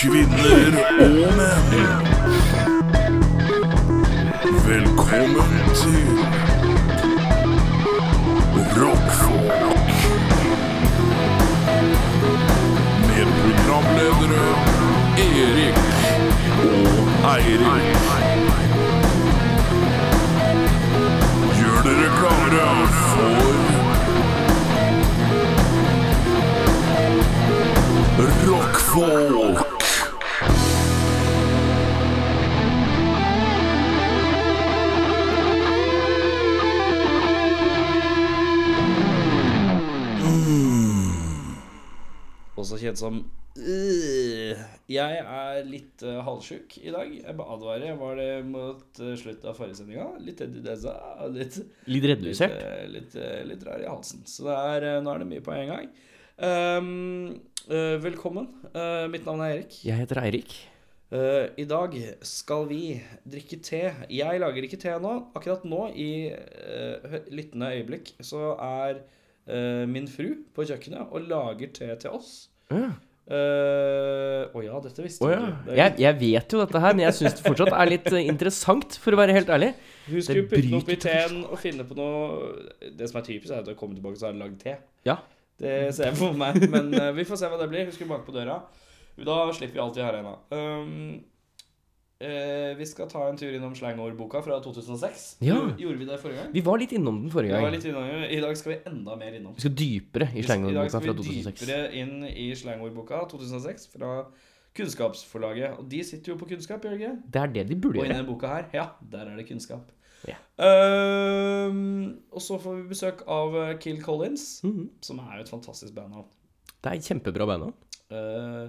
Kvinner og menn. Velkommen til Rockfolk. Med programledere Erik og Eirik. Gjør dere klare for Rockfolk. også kjent som øh. Jeg er litt uh, halvsjuk i dag. Jeg bare advarer. Jeg var det mot eh, slutten av forrige sendinga. Litt edudeza og litt, Litt litt, redusert. eh, litt, eh, litt rar i halsen. Så det er, eh, nå er det mye på en gang. Ehm, eh, velkommen. Eh, mitt navn er Erik. Jeg heter Eirik. Eh, I dag skal vi drikke te. Jeg lager ikke te nå. Akkurat nå, i eh, hø- lyttende øyeblikk, så er eh, min fru på kjøkkenet og lager te til oss. Å ja. Eh, Å ja, dette visste du. Det er- Jeg, jeg vet jo dette her, men jeg syns det fortsatt er litt eh, interessant, for å være helt ærlig. Hun skulle det putte den oppi bryter teen og finne på noe Det som er typisk, er at hun kommer tilbake og så har hun lagd te. Ja. Det ser jeg for meg. Men eh, vi får se hva det blir. Hun skulle banke på døra. Da slipper vi alltid her ennå. Um, eh, vi skal ta en tur innom slangordboka fra 2006. Ja. Gjorde- Gjorde vi det forrige gang? Vi var litt innom den Vi forrige var gang. litt innom, I dag skal vi enda mer innom. Vi skal dypere I i dag slangordboka skal fra vi 2006. dypere inn i slangordboka 2006 fra Kunnskapsforlaget. Og de sitter jo på kunnskap, gjør de ikke? Det er det de burde Og i gjøre. denne boka her, ja, der er det kunnskap. Ja. Ehm, og så får vi besøk av eh, Kill Collins, Mhm. som er jo et fantastisk bandnavn. Det er kjempebra bandnavn. Eh,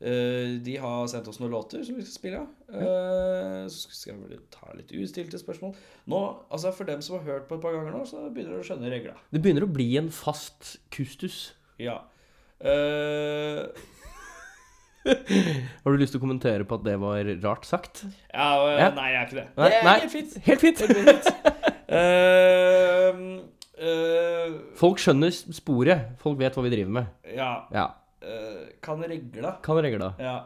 eh, de har sendt oss noen låter som vi skal spille av. Eh, så skal vi vel ta litt ustilte spørsmål. Nå, altså For dem som har hørt på et par ganger nå, så begynner dere å skjønne regla. Det begynner å bli en fast kustus. Ja. Eh, Har du lyst til å kommentere på at det var rart sagt? ja, eh, Ja. Nei, jeg er ikke det. Nei, det er nei. helt fint. Helt fint! Ehm, eh, Folk skjønner sporet. Folk vet hva vi driver med. ja. Ja. eh, kan regla Kan regla. Ja.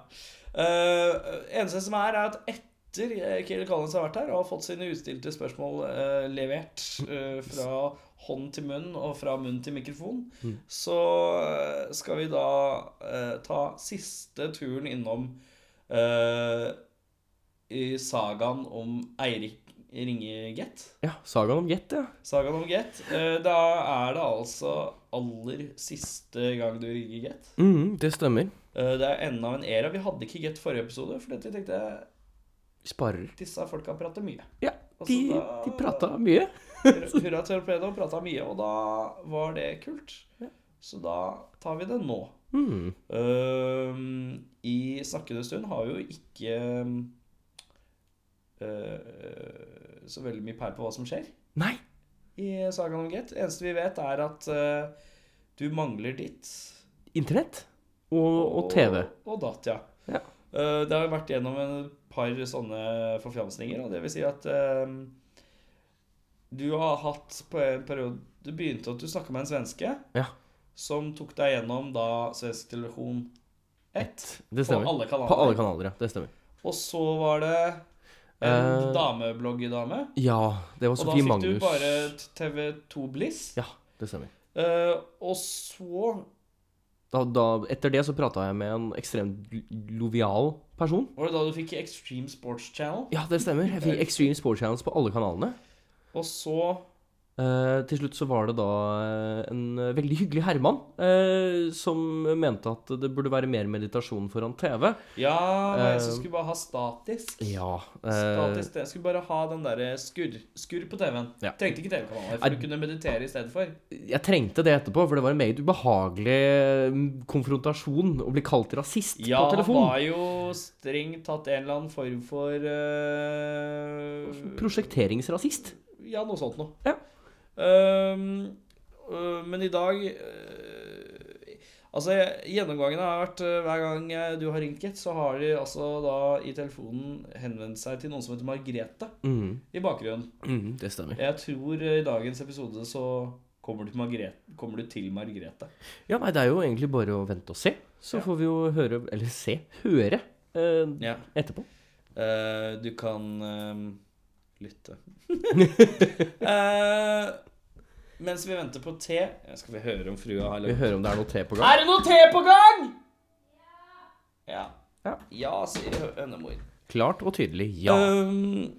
Eh, eneste som er, er at etter eh, Kiel Collins har vært her og har fått sine utstilte spørsmål eh, levert eh, fra hånd til munn og fra munn til mikrofon, så eh, skal vi da eh, ta siste turen innom eh, i sagaen om Eirik Ringeget. Ja, sagaen om Jet, ja. Sagaen om Get. Eh, da er det altså aller siste gang du ringer Get. Mhm, det stemmer. Eh, Det er enden av en era. Vi hadde ikke Get forrige episode, for vi tenkte Sparer. disse folka prater mye. Ja, Og så de, da- de prata mye. Hurra Torpedo prata mye, og da var det kult. Så da tar vi det nå. Mm. Ehm, I snakkende stund har vi jo ikke eh, så veldig mye peil på hva som skjer Nei. i sagaen om Get. Det eneste vi vet, er at eh, du mangler ditt. Internett og, og TV. Og datt, ja. Ja. Eh, det har jo vært gjennom et par sånne forfjamsninger, og det vil si at eh, du har hatt på en periode Du begynte at du snakka med en svenske Ja. som tok deg gjennom da svensk televisjon 1 Det på stemmer. alle kanaler. På alle kanaler, ja. Det stemmer. Og så var det en Eh, damebloggedame, Ja, det var og da Sofie fikk du Magnus. bare TV2 Bliss. Ja, det stemmer. Eh, og så Da, da, etter det så prata jeg med en ekstremt lo- lovial person. var det da du fikk Extreme Sports Channel, Ja, det stemmer. Jeg Eh. fikk Extreme Sports Channels på alle kanalene. og så Eh, til slutt så var det da eh, en eh, veldig hyggelig herremann eh, som mente at det burde være mer meditasjon foran TV. Ja, det var jeg som Eh, skulle bare ha statisk. Ja. eh, Statisk, jeg skulle bare ha den der skurr skurr på TV-en. Ja. Trengte ikke TV-kanaler Nei. for å kunne meditere i stedet for. jeg trengte det etterpå, for det var en meget ubehagelig mm, konfrontasjon å bli kalt rasist Ja, på han telefon. var jo strengt tatt en eller annen form for eh, Prosjekteringsrasist. Ja, noe sånt noe. Ja. Ehm, øh, men i dag øh, Altså, jeg- gjennomgangen har vært øh, Hver gang jeg- du har ringt, Get, så har de altså da i telefonen henvendt seg til noen som heter Margrethe Mhm, i bakgrunnen. mhm, det stemmer. Jeg tror eh, i dagens episode så Kommer du til Margrethe? Kommer du til Margrethe? Ja, nei, det er jo egentlig bare å vente og se. Så får vi jo høre Eller se. Høre eh, Ja. etterpå. Eh, du kan eh, lytte. Eh, mens vi venter på te ja, Skal vi høre om frua har Vi lagd hører om det er noe te på gang. Er det noe te på gang?! Ja. Ja. Ja, sier hø- hønemor. Klart og tydelig ja. Um,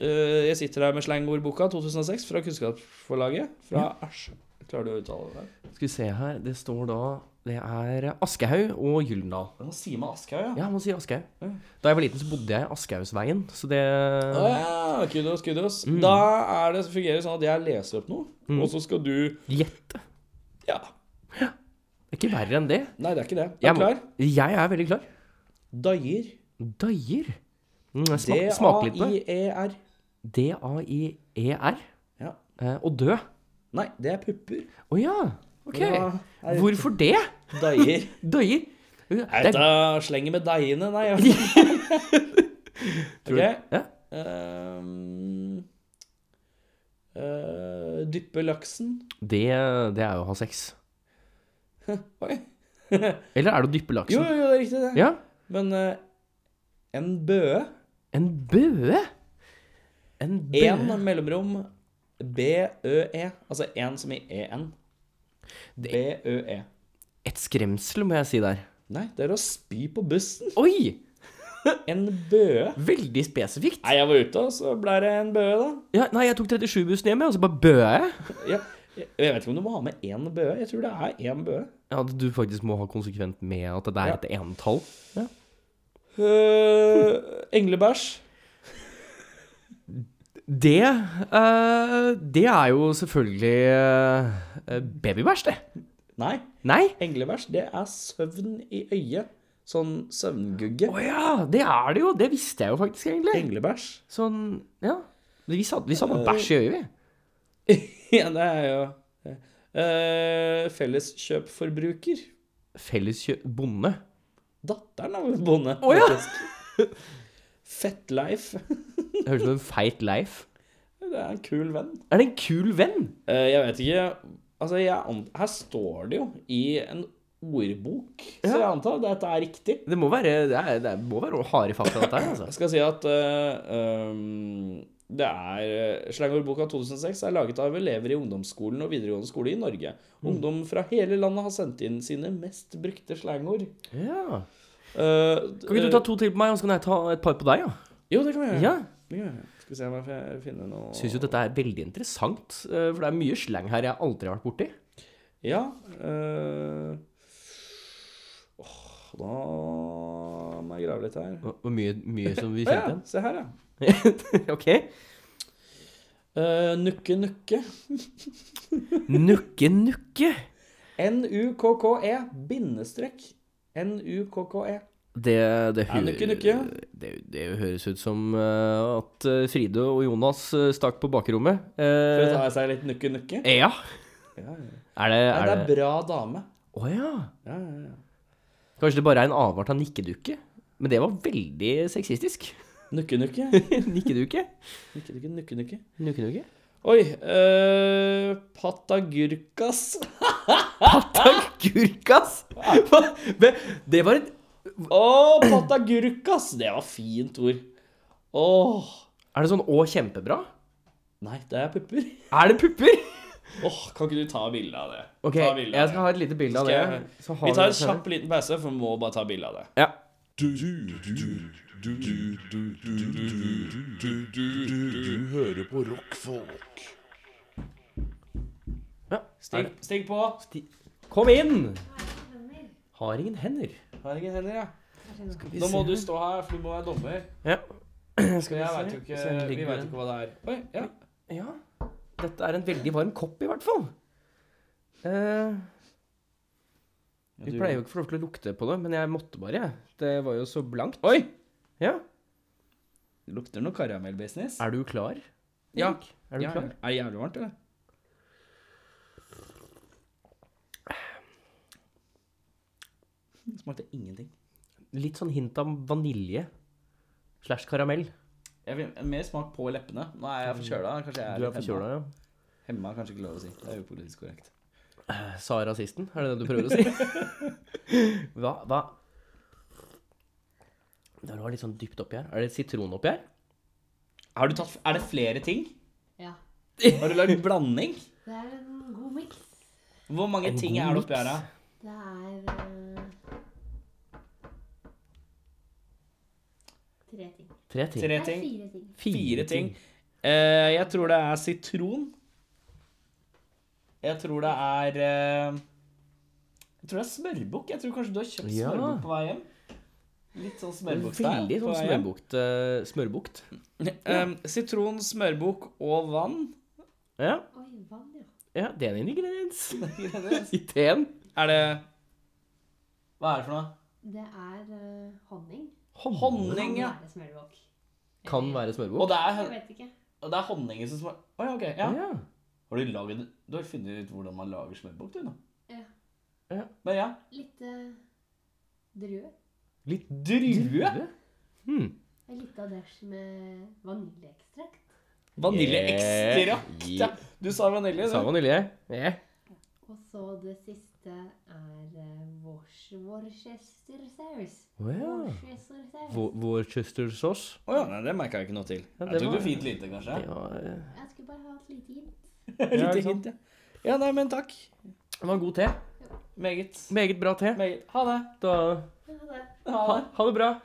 eh, jeg sitter her med slangordboka 2006 fra Kunnskapsforlaget. Fra Asj. Klarer du å uttale det? der? Skal vi se her. Det står da Det er Askehaug og Gyldendal. Nå sier man Aschehoug, ja. Ja, man sier Aschehoug. Ja. Da jeg var liten, så bodde jeg i Aschehougsveien, så det Å ja, kudos, kudos. Da er det, fungerer det sånn at jeg leser opp noe, og så skal du Gjette. Ja. Det er ikke verre enn det. Nei, det er ikke det. Er Jeg du må- klar? Jeg er veldig klar. Dayer. Daier. Mm, E jeg sma smaker litt på det. D-a-i-e-r. D-a-i-e-r. Ja. E Eh, Å dø. Å Nei, det er pupper. ja. OK. Ja, er- Hvorfor det? Dayer. Daier. Det Er er- dette slenger med deiene? Nei, jeg vet ikke. Ok. Ja. Ehm, eh, dyppe laksen. Det, det er jo å ha sex. Oi. Eller er det å dyppe Jo, laksen? jo, jo, det er riktig, det. Ja. Men eh, en bøe. En bøe. En bøe. Én mellomrom. B-ø-e. Altså én som i e-n. B-ø-e. Et skremsel, må jeg si der. Nei, det er å spy på bussen. Oi! En bøe. Veldig spesifikt. Nei, jeg var ute, og så ble det en bøe, da. Ja, nei, jeg tok 37-bussen hjem, jeg, og så bare bøe jeg. Ja. Jeg jeg vet ikke om du må ha med én bøe. Jeg tror det er én bøe. Ja, at du faktisk må ha konsekvent med at det er et entall. Ja. Øh, englebæsj. Det eh, Det er jo selvfølgelig eh, babybæsj, det. Nei, Nei? englebæsj, det er søvn i øyet. Sånn søvngugge. Å ja, det er det jo. Det visste jeg jo faktisk, egentlig. Englebæsj. Sånn, ja. Vi sa, vi sa bare bæsj i øyet, vi. ja, det er jo øh, Felleskjøpforbruker. Felleskjø... Bonde. Datteren av en bonde, Å, ja. faktisk. Fettleif. Det høres ut som en feit Leif. Det er en kul venn. Er det en kul venn? Eh, jeg vet ikke Altså, jeg an- her står det jo i en ordbok, så jeg antar at dette er riktig. Det må være, det er, det må være harde fakta, dette her. Jeg Altså. skal si at eh, um, det er eh, Slangordboka 2006 er laget av elever i ungdomsskolen og videregående skole i Norge. Mm. Ungdom fra hele landet har sendt inn sine mest brukte slangord. Ja. Eh, Kan ikke du ta to til på meg, og så kan jeg ta et par på deg? Ja. Jo, det kan vi gjøre. Ja. Det kan vi gjøre. Skal vi se om jeg fin- finner noe Syns jo dette er veldig interessant, eh, for det er mye slang her jeg aldri har vært borti. Ja. eh, åh, da må jeg grave litt her. Og og mye, mye som vi Å ja, kjente se her, ja. igjen. ok. Eh, nukke, nukke. Nukke, nukke. N-U-K-K-E. E, Bindestrek. N-U-K-K-E. Det, det, Ja, nukke, nukke. det, det høres ut som eh, at eh, Fride og Jonas eh, stakk på bakrommet. For å Eh, ta seg litt nukke, nukke. ja. Ja, ja. Er Nei, det er det er det- bra dame. Å ja. Ja, ja, ja. Kanskje det bare er en avart av nikkedukke? Men det var veldig sexistisk. Nukke, nukke. nikkedukke? Nukke, nukke, nukke, nukke. Nukke, nukke. Oi. eh, patagurkas. Ah! Patagurkas! Hva? Men Det var et Å, patagurkas! Det var fint ord. Åh. Er det sånn 'å, kjempebra'? Nei, det er pupper. Er det pupper? Åh, Kan ikke du ta bilde av det? Ok, ta bilde jeg av skal det. ha et lite bilde Skal av det. jeg- så har Vi tar det en senere. kjapp liten pause, for vi må bare ta bilde av det. Ja. Du, du, du, du, du, du, du, du, du, du, du hører på rockfolk. ja. Stig, stig på. Sti- Kom inn! Har ingen hender. Har ingen hender, ja. Skal vi Nå må se. du stå her, for du må være dommer. Ja. Skal jeg vet jo ikke, Se, ligger vi vet jo den. ikke hva det er. Oi, ja. ja. Dette er en veldig varm kopp, i hvert fall. Eh, vi pleier jo ikke å få lov til å lukte på det, men jeg måtte bare, jeg. Det var jo så blankt. Oi! Ja. Det lukter noe karamellbusiness. Er du klar? Ja. Erik? Er du Ja, klar? Er det jævlig varmt, eller? Det smakte ingenting. Litt sånn hint av vanilje slash karamell. Jeg vil mer smak på leppene. Nå er jeg forkjøla. Kanskje jeg er Du er litt forkjøla, ja. hemma. Emma er kanskje ikke lov å si. Det er upolitisk korrekt. Sa rasisten? Er det det du prøver å si? Hva? hva? Det var litt sånn dypt oppi her. Er det sitron oppi her? Har du tatt, er det flere ting? Ja. Har du lagd blanding? Det er en god miks. Hvor mange En ting god er det oppi her, da? mix. Det er eh, Tre ting. Tre ting. Det Tre er ting? fire ting. Fire ting. Eh, jeg tror det er sitron. Jeg tror det er eh, Jeg tror det er smørbukk. Jeg tror kanskje du har kjøpt Ja. smørbukk på vei hjem. Litt sånn smørbukkstyle. Veldig på sånn vei hjem. smørbukt. eh, smørbukt. Eh, sitron, smørbukk og vann. Ja, Oi, vann, ja. ja, det er en ingrediens. er I teen. det Hva er det for noe? Det er eh, honning. Honning, ja. Kan være smørbukk. Kan være Og smørbukt. det er, Jeg vet ikke. og det er honningen som smaker Å ja, ok. Ja. Ja. Har du, laget, du har funnet ut hvordan man lager smørbukk, du nå? Ja. Ja. Men ja. Litt eh, drue. Litt Drue? drue. Hmm. Det er Litt av det med vaniljeekstrakt. Vaniljeekstrakt. Yeah. ja. Du sa vanilje, Eh, Sa du. vanilje. Eh. Ja. Og så det siste er eh, Wors- Worcester saus. Å ja. Worcester saus. Wo- Worcester sauce. Å ja, nei, det merka jeg ikke noe til. Ja, det jeg tok var- det fint lite, kanskje. Det var, eh, Jeg skulle bare ha et lite hint. Ja, Lite ikke sant? hint, ja. Ja, nei, men takk. det var en god te. Meget. Meget bra te. Meget. Ha det. Da Ja, det er- Ha Ha, det. ha det bra.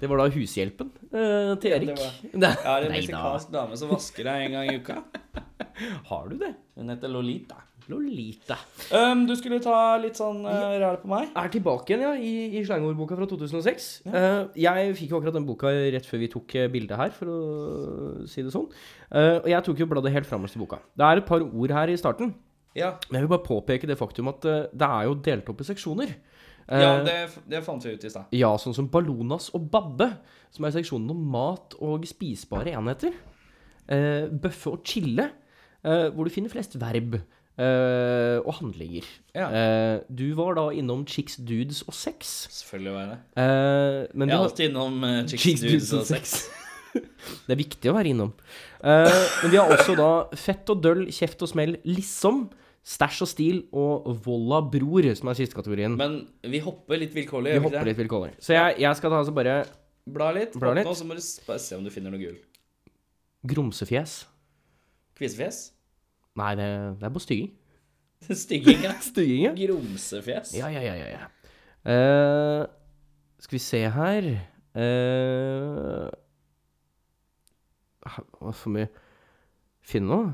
Det var da hushjelpen eh, til Ja, Erik. det Nei, Jeg har en nei da. meksikansk dame som vasker deg en gang i uka. Har du det? Hun heter Lolita. Lolita. Um, du skulle ta litt sånn uh, ræl på meg. Er tilbake igjen, ja, i, i slangordboka fra 2006. Eh, jeg fikk jo akkurat den boka rett før vi tok eh, bildet her, for å si det sånn. Eh, og jeg tok jo bladet helt framelst i boka. Det er et par ord her i starten. Ja, Men jeg vil bare påpeke det faktum at eh, det er jo delt opp i seksjoner. Eh, ja det, det fant vi ut i stad. Ja, sånn som Ballonas og Babbe, som er seksjonen om mat og spisbare enheter. Eh, bøffe og chille, eh, hvor du finner flest verb eh, og handlinger. Ja. Eh, du var da innom chicks, dudes og sex. Selvfølgelig var jeg det. Eh, Jeg men du er har- alltid innom uh, Chicks, dudes og sex. det er viktig å være innom. Eh, men vi har også da fett og døll, kjeft og smell, liksom. Stæsj og stil og volla bror, som er siste kategorien. Men vi hopper litt vilkårlig. Vi gjør hopper ikke det? litt vilkårlig. Så jeg, jeg skal da altså bare Bla litt. Bla Bla litt. Nå, så må du sp- se om du finner noe gull. grumsefjes. Kvisefjes. Nei, det, det er på stygging. Stygging, ja. Stygging, Grumsefjes. ja? Ja, ja, ja. ja. Eh, skal vi se her Eh, ha- Hva for mye Finn noe.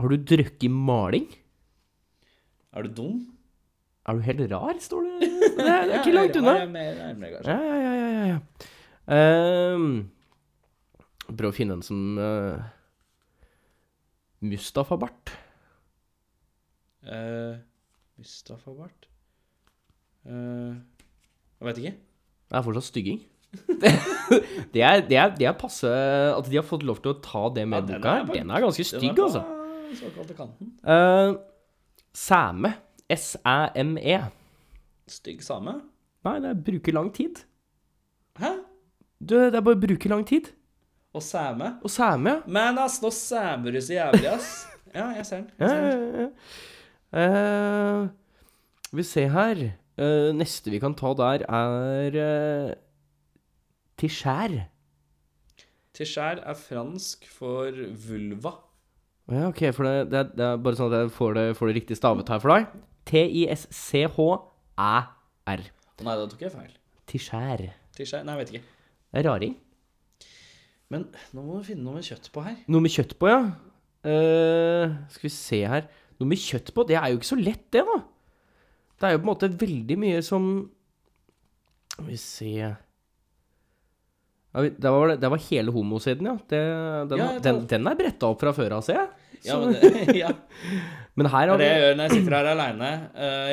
Har du drukket maling? Er du dum? Er du helt rar, står det. Det er, det er ikke langt unna. Ja, jeg er mer nærmere, kanskje. Ja, ja, ja, ja, ja, ja. Ehm, prøv å finne en som eh, Mustafa-bart. Eh, Mustafa Bart Eh, Jeg vet ikke. Det er fortsatt stygging. det, er, det, er, det er passe At de har fått lov til å ta det med Ja, den boka er her. på- Den er ganske Den stygg, er på altså. Såkalte kanten. Eh, sæme. S-æ-m-e. Stygg same. E. Nei, det er bruke lang tid. Hæ? Du, det er bare bruke lang tid. Og same. Og sæme, ja. Men ass, nå sæmer du så jævlig, ass. Ja, jeg ser den. Jeg Ja, ser den. ja, ja. Eh, vi ser her. Eh, neste vi kan ta der, er uh, til skjær. Tichær er fransk for vulva. Ja, OK, for det, det, er- det er bare sånn at jeg får det, får det riktig stavet her for deg. T-i-s-c-h-æ-r. Å nei, da tok jeg feil. Til skjær. Tichær Nei, jeg vet ikke. Det er raring. Men nå må du finne noe med kjøtt på her. Noe med kjøtt på, ja. Eh, skal vi se her. Noe med kjøtt på, det er jo ikke så lett, det, da. Det er jo på en måte veldig mye som Skal vi se ja, vi- der, var det, der var hele homosiden, ja. Det, den, Ja, jeg tar- den, den er bretta opp fra før av, ser jeg. Ja, Så- men det, ja. men Det her har er det jeg vi gjør når jeg sitter her aleine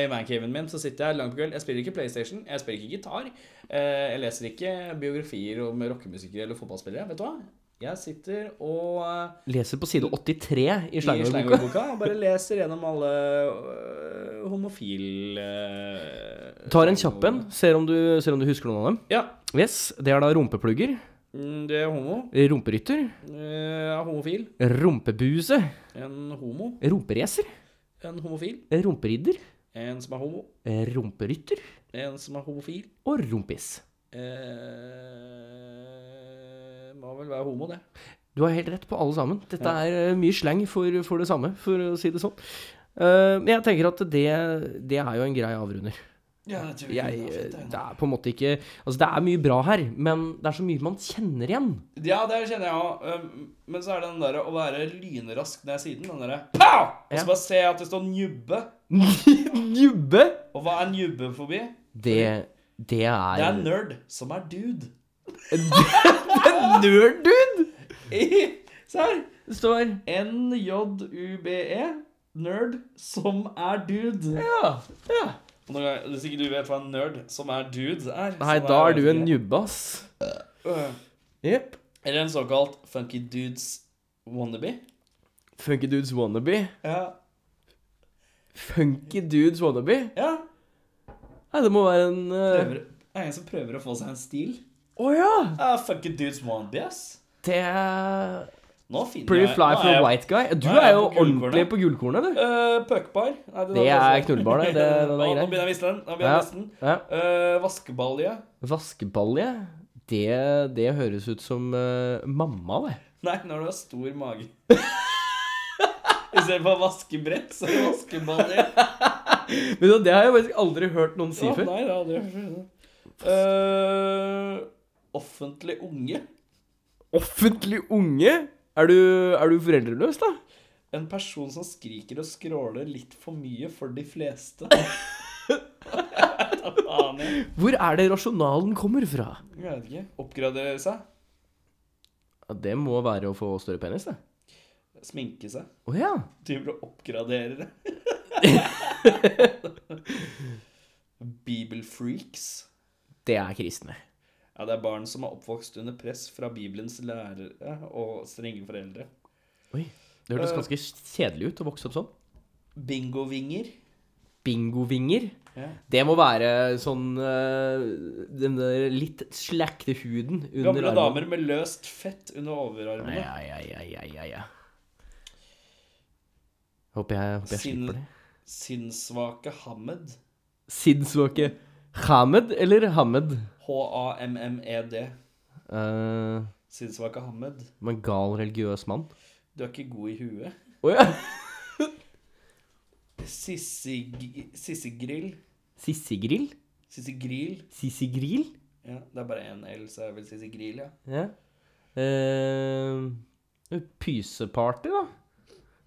i mancaven min. Så sitter jeg langt på kveld. Jeg spiller ikke PlayStation, jeg spiller ikke gitar. eh, jeg leser ikke biografier om rockemusikere eller fotballspillere. Vet du hva? Jeg sitter og eh, Leser på side 83 i i Slangerboka. slangordboka og bare leser gjennom alle uh, homofil... eh, Tar en kjapp en, ser, om du- ser om du husker noen av dem. Ja. Yes, det er da rumpeplugger. Mm, Det er homo. Rumperytter. Eh, Er homofil. Rumpebuse. En homo. Rumperacer. En homofil. Rumperidder. En som er homo. Rumperytter. En som er homofil. Og rumpis. Eh, må vel være homo, det. Du har helt rett på alle sammen. Dette er eh, mye slang for, for det samme, for å si det sånn. Eh, Men jeg tenker at det, det er jo en grei avrunder. Ja, jeg tror Jeg, eh, det er på en måte ikke Altså, det er mye bra her, men det er så mye man kjenner igjen. Ja, det kjenner jeg òg. Men så er det den derre å være lynrask ned siden. Den derre pow! Og Ja. så bare se at det står njubbe. Njubbe! Og hva er njubbefobi? Det, det er Det er nerd som er dude. nerd, dude! I- Se her. Det står NJUBE. E. Nerd som er dude. Ja. ja. Og når jeg, hvis ikke du vet hva en nerd som er dude er Nei, så da er du en jeg- njubbe, ass. Øh. Jepp. Eller en såkalt funky dudes wannabe. Funky dudes wannabe. Ja. Funky dudes wannabe. ja. Nei, det må være en eh, Prøver, er en som prøver å få seg en stil. Å ja! Ja, funky Ah, dudes wannabe, ass. Det er Nå finner Pretty jeg fly nå for er a jeg- white guy. Du Nei, jeg er er jo på gullkornet. ordentlig på gullkornet, du. Øh, Pøkebar. Nei, Det var er også- knullbar, det. Det- den er Å, Nå grei. begynner jeg å miste den. Nå begynner jeg Ja. å miste den. Ja. Øh, vaskebalje. Vaskebalje, det, det høres ut som eh, mamma, det. Nei, når du har stor mage. Istedenfor vaskebrett, så er det vaskebalje. Men det har jeg faktisk aldri hørt noen si Å, før. nei, det hadde jeg ikke skjønt. Øh, Offentlig unge. Offentlig unge? Er du, er du foreldreløs, da? En person som skriker og skråler litt for mye for de fleste. Da faen jeg. Hvor er det rasjonalen kommer fra? Jeg vet ikke. Oppgradere seg. Ja, Det må være å få større penis, det. Sminke seg. Å ja. Driver og oppgraderer det. Bibelfreaks. Det er kristne. Ja, det er barn som er oppvokst under press fra Bibelens lærere og strenge foreldre. Oi. Det hørtes Eh. ganske kjedelig ut å vokse opp sånn. Bingovinger. Bingovinger. Ja. Det må være sånn eh, Den der litt slekte huden under Gamle damer med løst fett under overarmene. Ja, ja, ja, ja, ja, ja. Håper jeg, håper jeg Sin- slipper det. Sinnssvake Hamed. Sinnssvake Hamed eller Hamed? H-a-m-m-e-d. Eh, E Sinnssvake Hamed. men gal religiøs mann? Du er ikke god i huet. Å ja! Sissig- Sissigrill. Sissigrill? Sissigril. Sissigril? Ja, det er bare én L, så er det vel Sissigril, ja. Ja. Eh, pyseparty, da?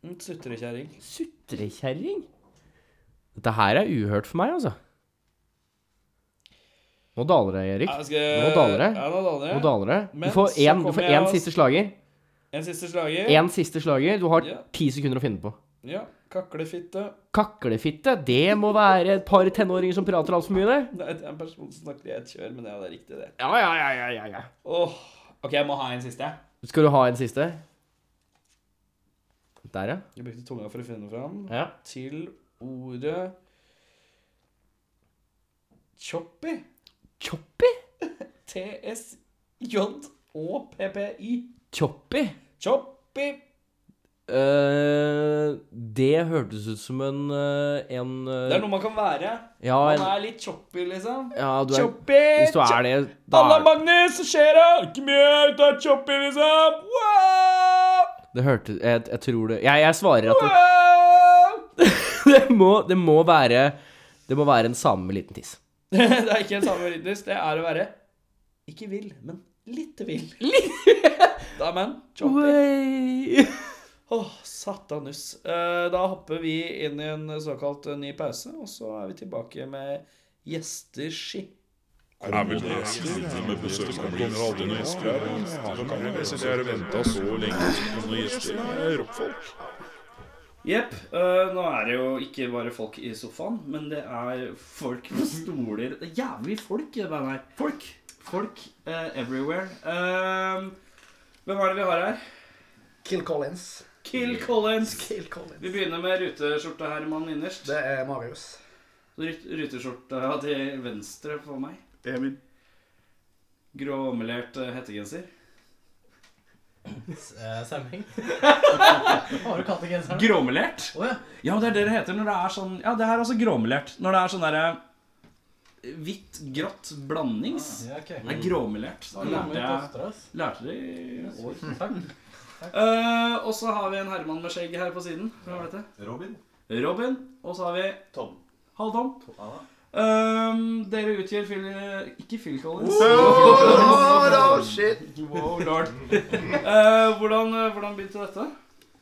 Mm, Sutrekjerring. Sutrekjerring? Dette her er uhørt for meg, altså. Nå daler det, Erik. Ja, skal jeg- Nå daler det. Ja, nå daler det. Nå daler det. Altså, Men Du får så én, du kommer får jeg én og- siste slager. En siste slager. Én siste slager. Du har Ja. ti sekunder å finne på. Ja. Kaklefitte. Kaklefitte, det må være et par tenåringer som prater altfor mye, det. Nei, det er en person som snakker i ett kjør, men ja, det er riktig, det. Ja, ja, ja, ja, ja, ja. Åh. OK, jeg må ha en siste. Skal du ha en siste? Der, ja. Jeg brukte tunga for å finne den fram. ja. Til ordet Choppy. Choppy? T-S-J-O-P-P-I. Choppy? Choppy. Eh, det hørtes ut som en eh, en eh, Det er noe man kan være. Ja, Man en, er litt choppy, liksom. ja du er, Choppy! hvis du chop- er det, da Halla, er Magnus! Så skjer det? Ikke mye ut av choppy, liksom. Wow! Det hørtes jeg, jeg tror det Jeg, jeg svarer at det, Wow! det, må, det må være Det må være en same med liten tiss. det er ikke en samme rytmus. Det er å være ikke vill, men litt vill. da, men. Choppy. Oi. Åh, satanus. Eh, Da hopper vi inn i en såkalt eh, ny pause, og så er vi tilbake med gjesteski. Er vel det sitter med besøk av blir aldri noen gjester her. Han kan jo sitte her og vente så lenge på noen gjester. Det er rockfolk. Jepp. eh, nå er det jo ikke bare folk i sofaen, men det er folk med stoler Det er jævlig folk i det bandet her. Folk. Folk eh, everywhere. Ehm, hvem er det vi har her? Kill Collins. Kill Collins. Kill Collins. Vi begynner med ruteskjorte-Herman innerst. Det er Marius. Rut- Ruteskjorta til venstre for meg. Emil. Gråmelert eh, hettegenser. eh, sammenheng. Har du kattegenseren? Gråmelert? Å ja. Ja, det er det det heter når det er sånn Ja, det her er også gråmelert. Når det er sånn derre eh, hvitt, grått blandings. Ah, ja ok. Det er gråmelert. Da Det lærte kommer vi til jeg oftere, ass. lærte det i år. Takk. Eh, og så har vi en Herman med skjegg her på siden. Hvem var dette? Robin? Robin. Og så har vi Tom. Halvdom. Anna? Ehm, dere utgjør Phil Ikke Phil Collins. Oh, shit. Wow, lord. Eh, hvordan, hvordan begynte dette?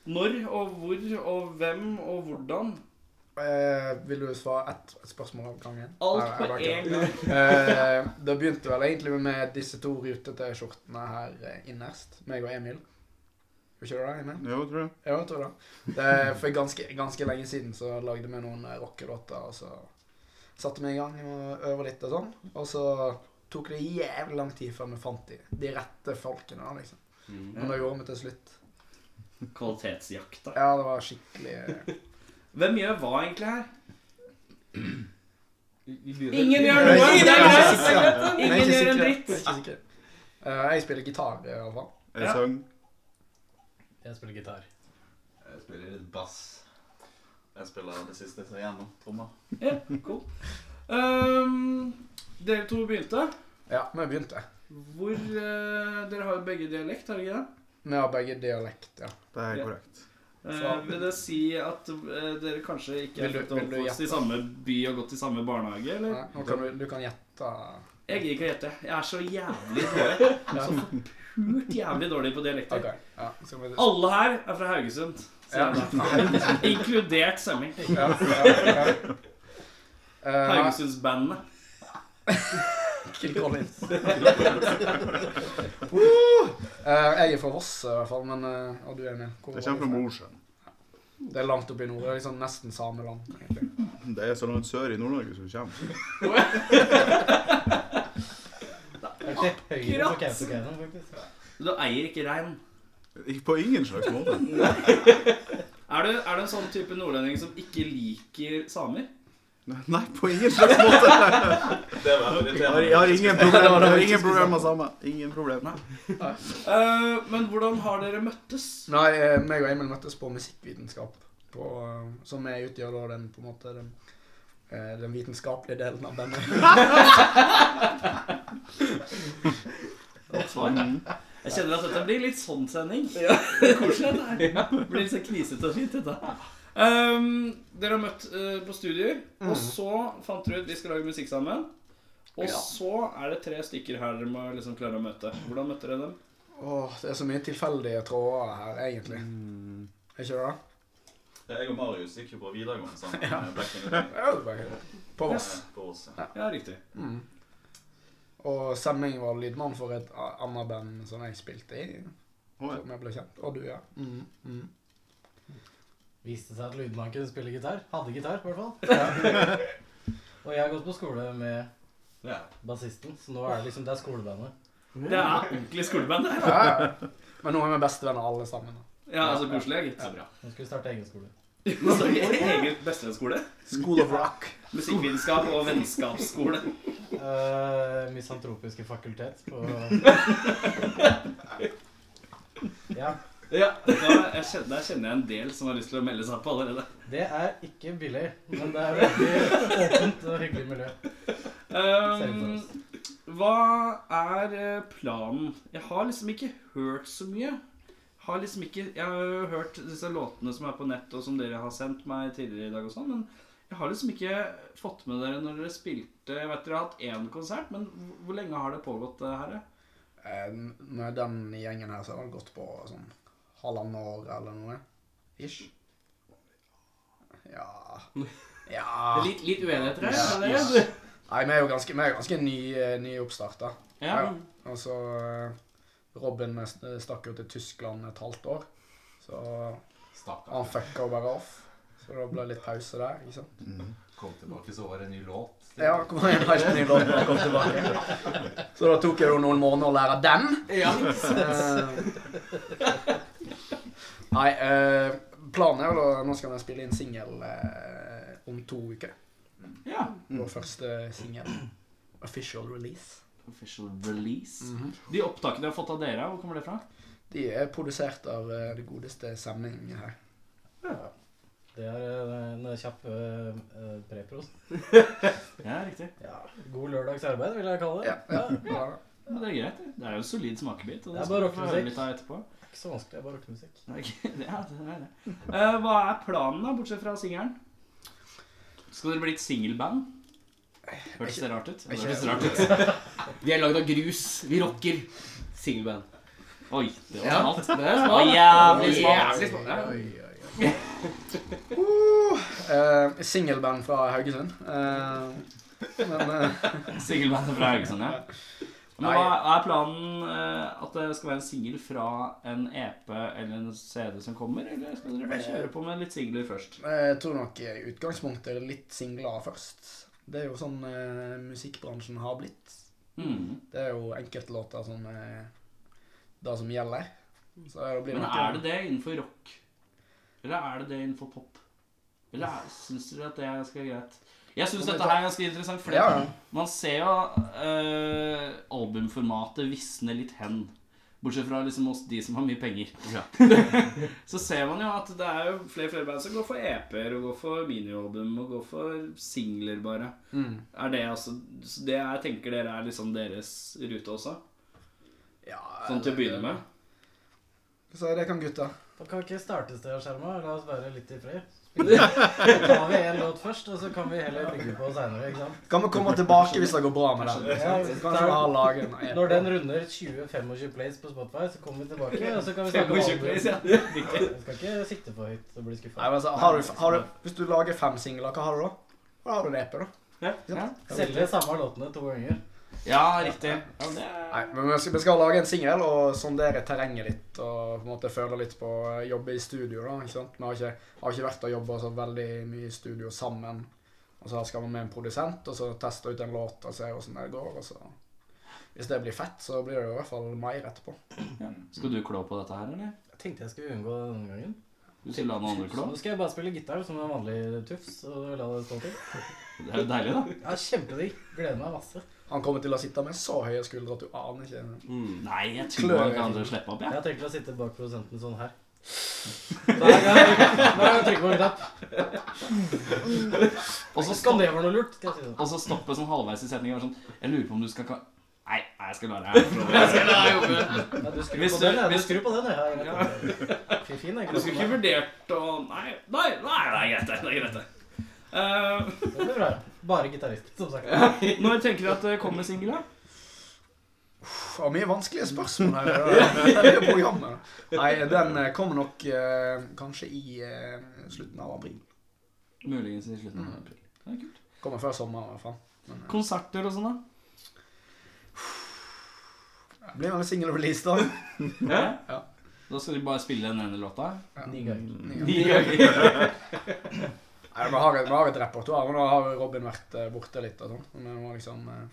Når og hvor og hvem og hvordan? Eh, vil du svare ett et spørsmål av gangen? Alt Nei, på jeg bare én gang. kødder. Eh, det begynte vel egentlig med disse to rutete skjortene her eh, innerst. Meg og Emil. Gjorde ikke du det, Emil? Jo, tror jeg. Ja, jeg tror det. det for ganske, ganske lenge siden så lagde vi noen eh, rockelåter, og så satte vi i gang og øve litt og sånn. Og så tok det jævlig lang tid før vi fant de, de rette folkene, da, liksom. Men det gjorde vi til slutt. Kvalitetsjakta. Ja, det var skikkelig eh, Hvem gjør hva egentlig her? Ingen Ingen gjør Nei, noe! jeg Det er er greit, det er greit! det. ikke sikker. Ingen Jeg er ikke gjør en sikker. dritt. Jeg er ikke sikker. Eh, jeg spiller gitar, i hvert fall. Jeg Ja. sang. Jeg spiller gitar. Jeg spiller litt bass. Jeg spiller det siste som er igjennom. Trommer. Ja, cool. Ehm, dere to begynte. Ja, vi begynte. Hvor eh, Dere har jo begge dialekt, har dere ikke det? Vi har begge dialekt, ja. Det er Ja. korrekt. Eh, vil det si at eh, dere kanskje ikke er Vil du- født og vil du oppvokst i gjette? samme by og gått i samme barnehage, eller? Nei, Nå kan du, du kan gjette Jeg gir ikke å gjette. Jeg er så jævlig dårlig. Så forpult jævlig dårlig på dialekter. OK. Ja, skal vi Alle her er fra Haugesund. Så Ja. jeg er derfra. Inkludert Semming. Ja, ja, ja. Eh, Haugesundsbandene. Kill Collins. eh, jeg er fra Voss i hvert fall, men eh, og du er med. Hvor Jeg kommer fra var du Mosjøen. Det er langt opp i nord. Det er liksom nesten sameland, egentlig. Det er så langt sør i Nord-Norge som kommer. Det er ikke høyere på Kautokeino, faktisk. Du eier ikke rein. Ikke på ingen slags måte. Er du, er du en sånn type nordlending som ikke liker samer? Nei, på ingen slags måte. Det var veldig Jeg har, jeg har ingen problemer problem med samme. Ingen problem. Eh, men hvordan har dere møttes? Nei, eh, meg og Emil møttes på musikkvitenskap, på, eh, som er utgjør da den, på en måte, den, eh, den vitenskapelige delen av bandet. Godt svar. Mm. Jeg kjenner at dette blir litt sånn sending. Det er Koselig dette her. Det Blir litt så knisete og fint dette. Ehm, dere har møtt eh, på studier, og så fant dere ut vi skal lage musikk sammen. Og så er det tre stykker her dere må liksom klare å møte. Hvordan møtte dere dem? Åh, det er så mye tilfeldige tråder her, egentlig. Er ikke det? Jeg og Marius gikk jo på videregående sammen. med Black in the Day. Ja, det er bare- På Voss. Eh, På oss. Ja, riktig. Og Semming var lydmann for et a- annet band som jeg spilte i. Å, ja. Som jeg ble kjent. Og du, ja. Mm, mm. Viste seg at lydmannen kunne spille gitar. Hadde gitar, i hvert fall. Ja. Og jeg har gått på skole med Ja. bassisten, så nå er det liksom det er skolebandet. Det er ordentlig skoleband, det her. Ja. Men nå er vi bestevenner alle sammen. da. Ja, altså koselig. Gitt. Så bra. Nå skal vi starte egen skole. Så vi har Egen bestevennsskole. School of Rock. Musikkvitenskap og vennskapsskole. Eh, misantropiske fakultet på Ja. Ja. Jeg kjenner, der kjenner jeg en del som har lyst til å melde seg på allerede. Det er ikke billig, men det er veldig åpent og hyggelig miljø. Ehm, hva er eh, planen? Jeg har liksom ikke hørt så mye. Har liksom ikke, jeg har jo hørt disse låtene som er på nett, og som dere har sendt meg tidligere i dag og sånn, men jeg har liksom ikke fått med dere når dere spilte Jeg vet dere har hatt én konsert, men hvor- hvor lenge har det pågått, det her? Eh, med den gjengen her så har det gått på sånn halvannet år eller noe. Ish. Ja Ja Litt, litt uenigheter her? Ja, eller? ja. Nei, vi er jo ganske, vi er jo ganske ny, eh, ny oppstart, da. Ja. Og så eh, Robin eh, stakk jo til Tyskland et halvt år. Så Stakkar. han fucka jo bare off. Så det ble litt pause der. ikke sant? Kom tilbake, så var det en ny låt. Ja, kom igjen, har ikke ny låt når jeg kom tilbake. Så da tok jeg jo noen måneder å lære den. Ja. Eh, Nei, eh, planen er jo da Nå skal vi spille inn singel eh, om to uker. ja. Vår første singel. Official release. Official release. De opptakene jeg har fått av dere, hvor kommer det fra? De er produsert av eh, det godeste Semming her. Det er eh, en kjapp eh, eh, preprost. Ja, riktig. Ja. God lørdags arbeid, vil jeg kalle det. Ja, ja. ja. Men det er greit. det. Det er jo en solid smakebit. Og Det det er skal vi bare få høre rockmusikk. litt av etterpå. Ikke så vanskelig, det er bare rockemusikk. Det er ikke- det er- det er det. Eh, hva er planen, da, bortsett fra singelen? Skal dere bli et singelband? Hørtes det rart ut? Det hørtes rart ut. Vi er lagd av grus. Vi rocker. Singelband. Oi, det var Ja, smalt. det er Det var smart. jævlig smalt. Jævlig smart. ja. Eh, Singelband fra Haugesund. Eh, men eh, Singelbandet fra Haugesund, ja. Men hva er planen? eh, At det skal være en singel fra en EP eller en CD som kommer? Eller skal dere bare kjøre på med litt singler først? jeg tror nok i utgangspunktet er det litt singler først. Det er jo sånn eh, musikkbransjen har blitt. Mm. Det er jo enkeltlåter som er det som gjelder. Så det blir Men nok- er det det innenfor rock? Eller er det det innenfor pop? Eller syns dere at det er ganske greit? Jeg syns dette her er ganske interessant, for det- Ja, ja. man ser jo eh, albumformatet visne litt hen. Bortsett fra liksom oss, de som har mye penger. så ser man jo at det er jo flere flere band som går for EP-er og går for minialbum og går for singler, bare. Mm. Er det altså Så det jeg tenker dere er liksom deres rute også? Ja, Sånn til å begynne med? Så det kan gutta. Da kan vi ikke starte et sted av skjerma. La oss være litt i fred. Da tar vi en låt først, og så kan vi heller bygge på seinere. ikke sant? Kan vi komme tilbake hvis det går bra med den? Ja, Kanskje vi har laget en Når den runder 20-25 plays på Spotify, så kommer vi tilbake. og så kan vi snakke om 25 plays, album. ja. Vi skal ikke sikte for høyt og Nei, bli skuffa. men altså, har du, har du, Hvis du lager fem singler, hva har du da? Da har du en EP, da. Selge samme låtene to ganger. Ja, riktig. Ja, det Nei, er... men vi skal, vi skal lage en singel og sondere terrenget litt. Og på en måte føle litt på å jobbe i studio, da. ikke sant? Vi har ikke, har ikke vært og jobba så veldig mye i studio sammen. Og så skal vi med en produsent, og så teste ut en låt og se åssen det går. og så... Hvis det blir fett, så blir det jo i hvert fall mer etterpå. Ja. Skal du klå på dette her, eller? Jeg tenkte jeg skulle unngå det denne gangen. Du skal la noen andre Så klå? nå skal jeg bare spille gitar som en vanlig tufs og la det stå til. Det er jo deilig, da. Ja, Kjempedigg. Gleder meg masse. Han kommer til å sitte med så høye skuldre at du aner ikke. Nei, jeg tror bare ikke andre slipper opp, Jeg jeg. har tenkt å sitte bak produsenten sånn her. Hver gang hver gang jeg trykker på en knapp. Og så Skal stopp- det være noe lurt? Skal jeg si sånn. og så stoppe sånn halvveis i setningen og være sånn Jeg lurer på om du skal ka... Nei, nei, jeg skal la deg Jeg skal la deg jobbe. Ja, du skrur Hvis på du- den, ja. Du hvis- skrur på den, ja. Jeg vet det. Fy, fin, jeg. Du skulle ikke vurdert å Nei, nei, nei, det er greit, det. Det er greit, det. Eh, Det blir bra. Bare gitarist, som sagt. når tenker dere at det kommer singel, da? Uff, det er mye vanskelige spørsmål her. i Det det programmet. Nei, den eh, kommer nok eh, kanskje i eh, slutten av april. Muligens i slutten av april. Det er kult. Kommer før sommeren, i hvert fall. Konserter og sånn, Det blir vel single release, da. da? Ja. Ja. Da skal de bare spille den ene låta? Ni ganger. Mm. Ni ganger. De ganger. Nei, vi har, et- vi har et repertoar, men nå har Robin vært eh, borte litt og sånn. Så vi må liksom eh,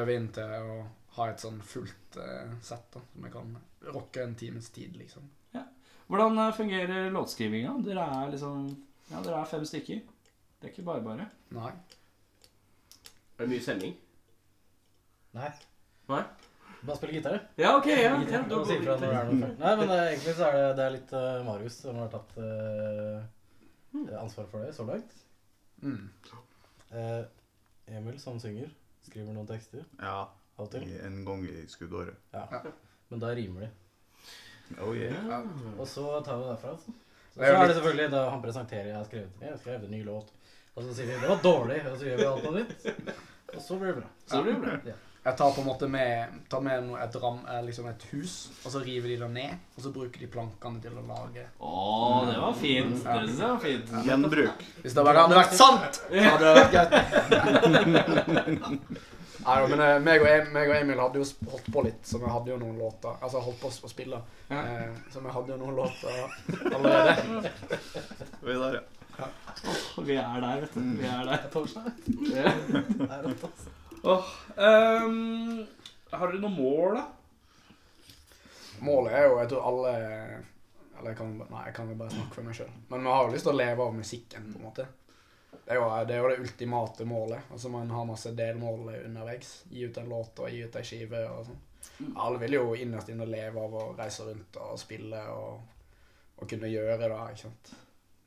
øve inn til å ha et sånn fullt eh, sett, da. Som vi kan rocke en times tid, liksom. Hvordan eh, fungerer låtskrivinga? Dere er liksom Ja, dere er fem stykker. Det er ikke bare bare. Nei. Er det mye sending? Nei. Nei? Bare spille gitar. Ja, ok. ja, ok. Gitar, Da og si fra går når det vi er noe feil. Nei, men det, er- egentlig så er det, det er litt eh, Marius som har tatt Hmm. eh, ansvaret for det så langt. Mm. Eh, Emil som synger, skriver noen tekster Ja, av og til. en gang i skuddåret. Men da rimer de. Oh yeah. Hmm. Og så tar vi derfra. Altså. Så, så Det er jo er det selvfølgelig da han presenterer jeg har skrevet, jeg har skrevet en ny låt. Og så sier vi det var dårlig, og så gjør vi alt på nytt. Og så blir det bra. Så det blir bra. Jeg tar på en måte med, tar med noe- et, ram, eh, liksom et hus, og så river de det ned. Og så bruker de plankene til å lage Å, det var fint. Det synes jeg var fint. Gjenbruk. Hvis det bare hadde vært sant, så hadde det vært greit. Nei, da, men eh, meg og, Em- meg og Emil hadde jo sp- holdt på litt, så vi hadde jo noen låter. Altså holdt på å spille, Ja. eh, så vi hadde jo noen låter allerede. Vi er der, ja. Vi er der, vet du. Mm. Vi er der. Ja. Det er rått, altså. Åh, ehm, har dere noe mål, da? Målet er jo, jeg tror alle Eller jeg kan, nei, jeg kan jo bare snakke for meg sjøl. Men vi har jo lyst til å leve av musikken, på en måte. Det er jo det, er jo det ultimate målet. Altså Man har masse delmål underveis. Gi ut en låt og gi ut ei skive og sånn. Alle vil jo innerst inne leve av å reise rundt og spille og, og kunne gjøre det, ikke sant.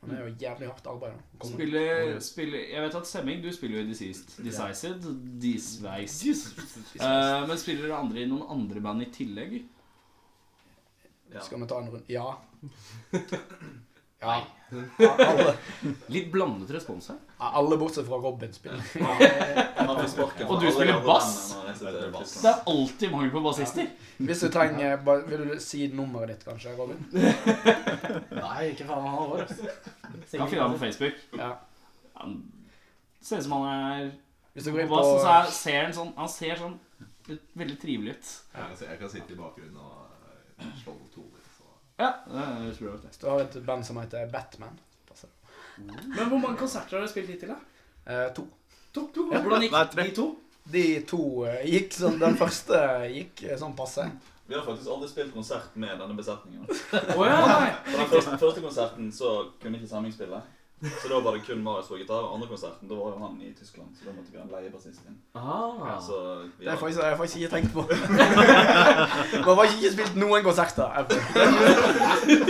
Men det er jo jævlig hardt arbeid. da. Kommer- Spiller, spiller, jeg vet at Semming, du spiller jo i Deceased. Decised. Disveist. Eh, men spiller dere andre i noen andre band i tillegg? Skal vi ta en runde? Ja. Ja. Alle, Litt blandet respons her. alle bortsett fra Robin spiller. Og du spiller bass? bass. Det er alltid mangel på bassister. Hvis du trenger bare- Vil du si nummeret ditt, kanskje, Robin? Nei, ikke faen meg han altså. vår. Kan finne han på Facebook. Ja. Han ser ut som han er Hvis du går inn på bass, og så på er, ser han sånn Han ser sånn litt- veldig trivelig ut. Jeg kan sitte i bakgrunnen og eh, slå to litt. Så. Ja, det høres bra ut. det. Du har et band som heter Batman. Men hvor mange konserter har dere spilt hittil, da? Eh, to. Hvordan gikk Hva er tre? de to? De to eh, gikk sånn Den første gikk eh, sånn passe. Vi har faktisk aldri spilt konsert med denne besetningen. Å ja, nei. På den første, første konserten så kunne ikke Semming spille. Så da var det kun Marius på gitar. Og andre konserten, da var jo han i Tyskland, så da måtte vi ha en leiebassisten. Ah. Så vi Det har jeg har faktisk, det har jeg faktisk ikke tenkt på. Man har faktisk ikke spilt noen konserter. ever.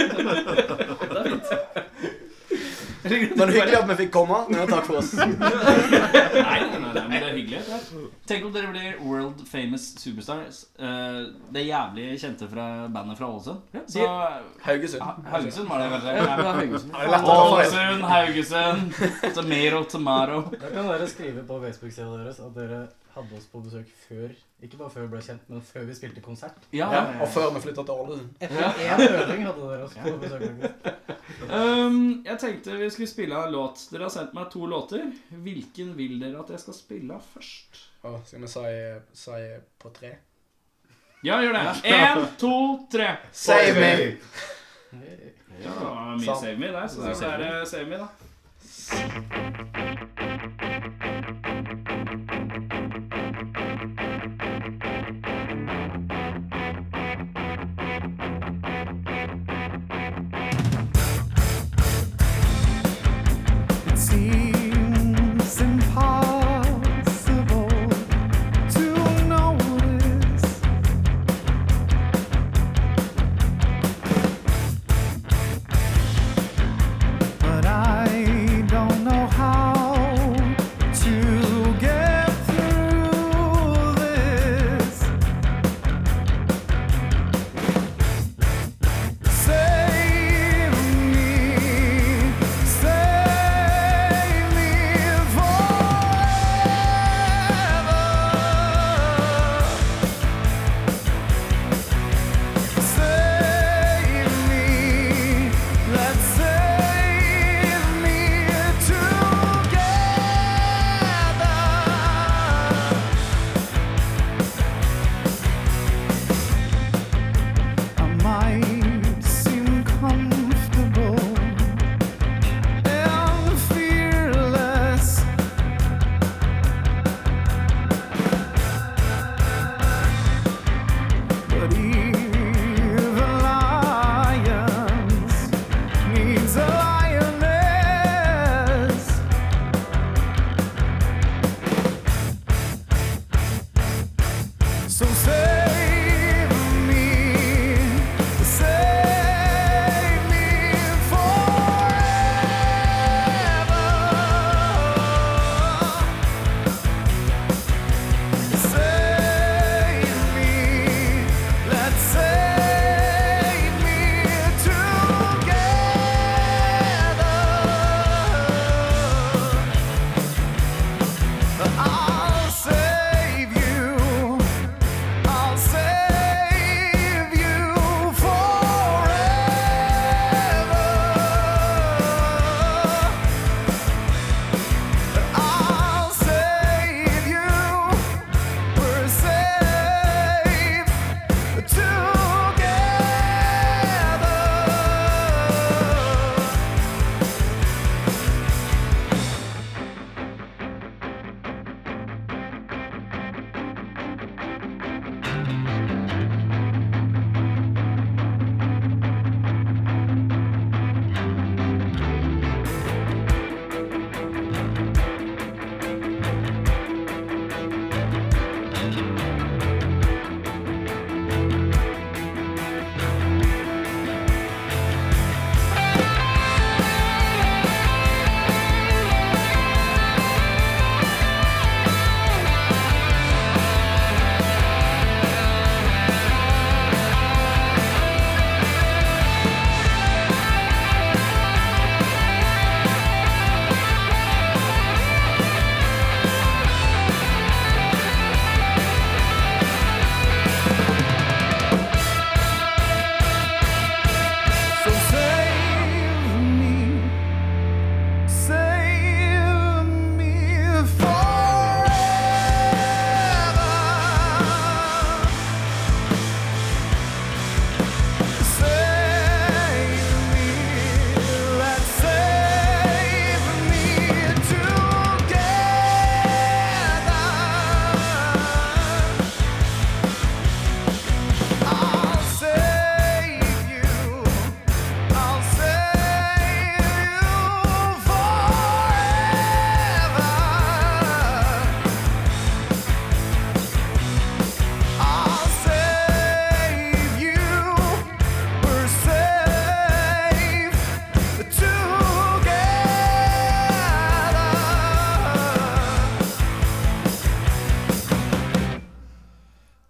Men hyggelig at vi fikk komme. Men takk for oss. Nei, nei, nei, nei, men det er hyggelig. det. Tenk om dere blir world famous superstars. Eh, det jævlig kjente fra bandet fra Ålesund. Så Haugesund. Ha- Haugesund var det kanskje? Det er Ja. lett å ta feil. Ålesund, Haugesund, Tomero, Tomaro. Da kan dere skrive på Facebook-sida deres at dere hadde oss på besøk før Ikke bare før vi ble kjent, men før vi spilte konsert. Ja. Ja, og før vi flytta til Ålesund. Ja. Etter én øving hadde dere oss på besøk. faktisk. Um, jeg tenkte vi skulle spille av en låt. Dere har sendt meg to låter. Hvilken vil dere at jeg skal spille av først? Å, Skal vi si, si på tre? Ja, gjør det. Én, to, tre. Save me! Ja, det var mye Sant. Save Me der, så da er det Save Me, da. Seems impossible to notice. But I don't know how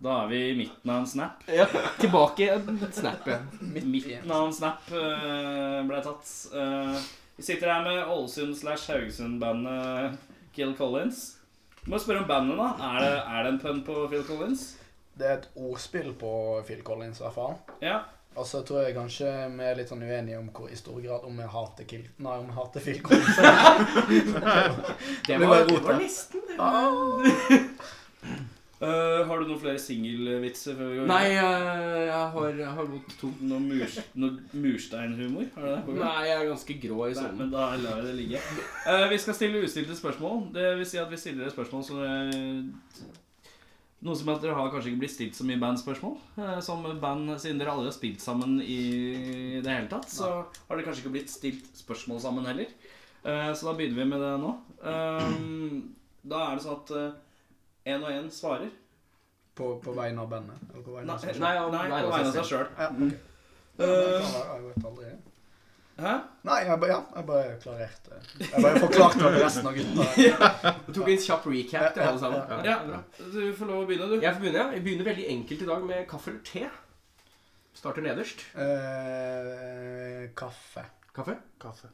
midten av en snap. Ja. Tilbake i en snap, ja. Midten av en snap eh, ble tatt. Eh, vi sitter her med Ålesund slash Haugesund-bandet eh, Kill Collins. Du må spørre om bandet, da. Er det, er det en pønn på Phil Collins? Det er et ordspill på Phil Collins, i hvert fall. Ja. Og så tror jeg kanskje vi er litt sånn uenige om hvor, i stor grad om jeg hater Kill... Nei, om jeg hater Phil Collins. Det blir var- bare rot, det var da. nesten det. Ah. Eh, har du noen flere singelvitser før vi går Nei, videre? jeg, jeg har, jeg har gått to. Noe, murs, noe mursteinhumor? Har du det? på gang? Nei, jeg er ganske grå i Nei, sånn. men da lar vi det ligge. Eh, vi skal stille ustilte spørsmål. Det vil si at vi stiller et spørsmål som eh, Noe som er at dere har kanskje ikke blitt stilt så mye bandspørsmål. eh, som band, Siden dere aldri har spilt sammen i det hele tatt, så har dere kanskje ikke blitt stilt spørsmål sammen heller. Eh, så da begynner vi med det nå. Ehm, da er det sånn at én og én svarer. På, på vegne av bandet? Eller på vegne Nei, av seg selv? nei, på vegne av seg sjøl. Ja, ok. Ja, men Eh, jeg klarer- jeg vet aldri. Hæ? Nei, jeg bare, ja, jeg bare klarerte. Jeg bare forklarte det til resten av gutta. Jeg tok en kjapp recap til alle sammen. Ja, du får lov å begynne, du. Jeg får begynne. ja. Jeg begynner veldig enkelt i dag med kaffe eller te. Starter nederst. Eh, kaffe. Kaffe? Kaffe.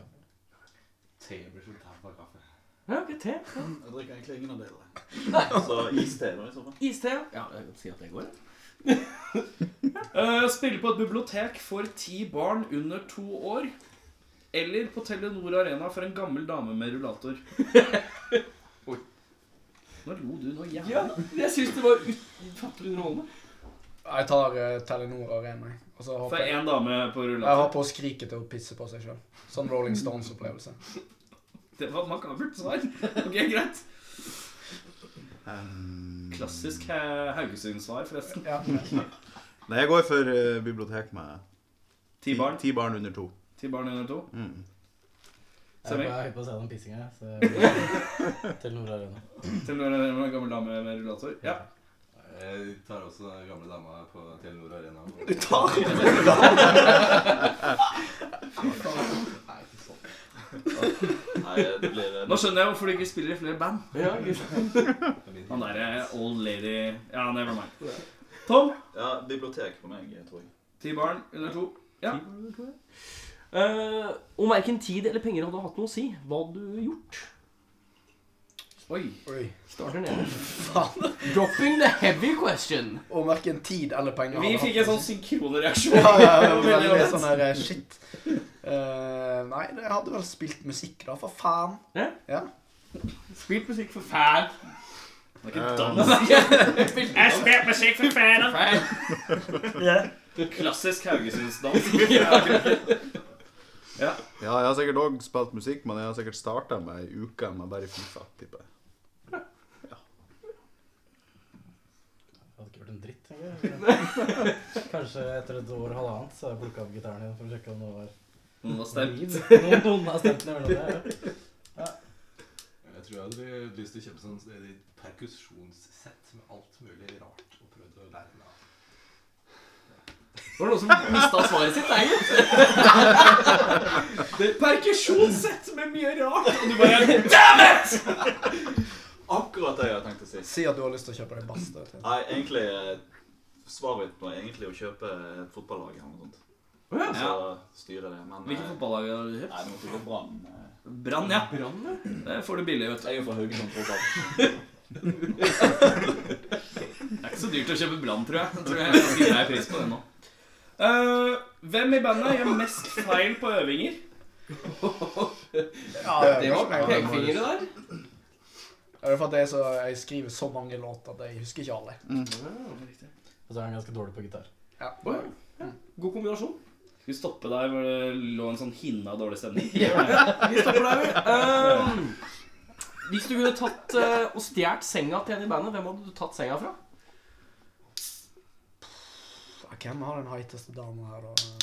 Te blir så tæv av kaffe. Ja, ok, te. Jeg drikker egentlig ingen av delene. Så iste da, i så fall. Iste. Ja, jeg kan si at det går. ja. Eh, spille på et bibliotek for ti barn under to år. Eller på Telenor Arena for en gammel dame med rullator. Oi. Nå lo du noe jævlig. Ja, jeg syns det var ufattelig underholdende. Jeg tar eh, Telenor Arena. jeg. Og så For håper jeg, én dame på jeg rullator. håper hun skriker til hun pisser på seg sjøl. Sånn Rolling Stones-opplevelse. Det var et makabert svar. Ok, greit. Um, Klassisk eh, Haugesund-svar, forresten. Ja. Nei, jeg går for eh, bibliotek med Ti barn. ti barn under to. Ti barn under to. Mm. Jeg er Stemmer. bare høy på å se den pissinga, jeg, så Telenor Arena. Telenor Arena for en gammel dame med rullator. Ja. Jeg tar også den gamle dama på Telenor Arena. Du tar sånn. Nei, det blir Nå skjønner jeg hvorfor du ikke spiller i flere band. Ja, ikke- Han derre old lady Ja, never mind. Tom. Ja, bibliotek for meg, tror jeg. Ti barn under to. Ja. Eh, om verken tid eller penger hadde hatt noe å si, hva hadde du gjort? Oi. Oi. Starter nederst. Dropping the heavy question. Og verken tid eller penger. Vi hadde fikk hatt en sånn synkronreaksjon. Ja, ja, ja, Veldig veldig ålreit. sånn her eh, shit. Eh, nei, det hadde vel spilt musikk, da, for faen. Spilt musikk for fan. Det er ikke Eh, dans. Jeg spiller musikk for fan. Klassisk Haugesundsdans. Ja, jeg har sikkert òg spilt musikk, men jeg har sikkert starta med ei uke med bare Fifa. tipper jeg. Jeg hadde ikke gjort en dritt, tenker jeg. Kanskje etter et år og halvannet så har jeg plukka opp gitaren igjen for å sjekke om det var Noen har stemt. liv. Noen, noen har stemt ned mellom det. Jeg tror jeg hadde lyst til å kjøpe sånn et perkusjonssett med alt mulig rart og prøvd å lære meg av. Var det noen som mista svaret sitt? Nei, gitt. Perkusjonssett med mye rart. Og du bare Akkurat det jeg har tenkt å si. Si at du har lyst til å kjøpe deg bass. da, til. Nei, egentlig eh, Svaret mitt var egentlig å kjøpe et fotballag eller noe sånt. Så styre det, men Hvilket eh, fotballag har du Nei, kjøpt? det måtte gå Brann. eh. Brann, ja. Det får du billig, vet du. Jeg er fra Haugesund fotball. Det er ikke så dyrt å kjøpe Brann, tror jeg. Jeg tror jeg er ganske grei pris på det nå. Eh, hvem i bandet gjør mest feil på øvinger? Ja, Det var pekefingre der. Ja, det er for at jeg, så, jeg skriver så mange låter at jeg husker ikke alle. Og så er han ganske dårlig på gitar. Ja. Å, ja. Ja. God kombinasjon. Skal vi stoppe der hvor det lå en sånn hinne av dårlig stemning? Vi stopper der, vi. Ehm, hvis du kunne tatt eh, og stjålet senga til en i bandet, hvem hadde du tatt senga fra? Ja, Ah, Hvem har den heiteste dama her, da?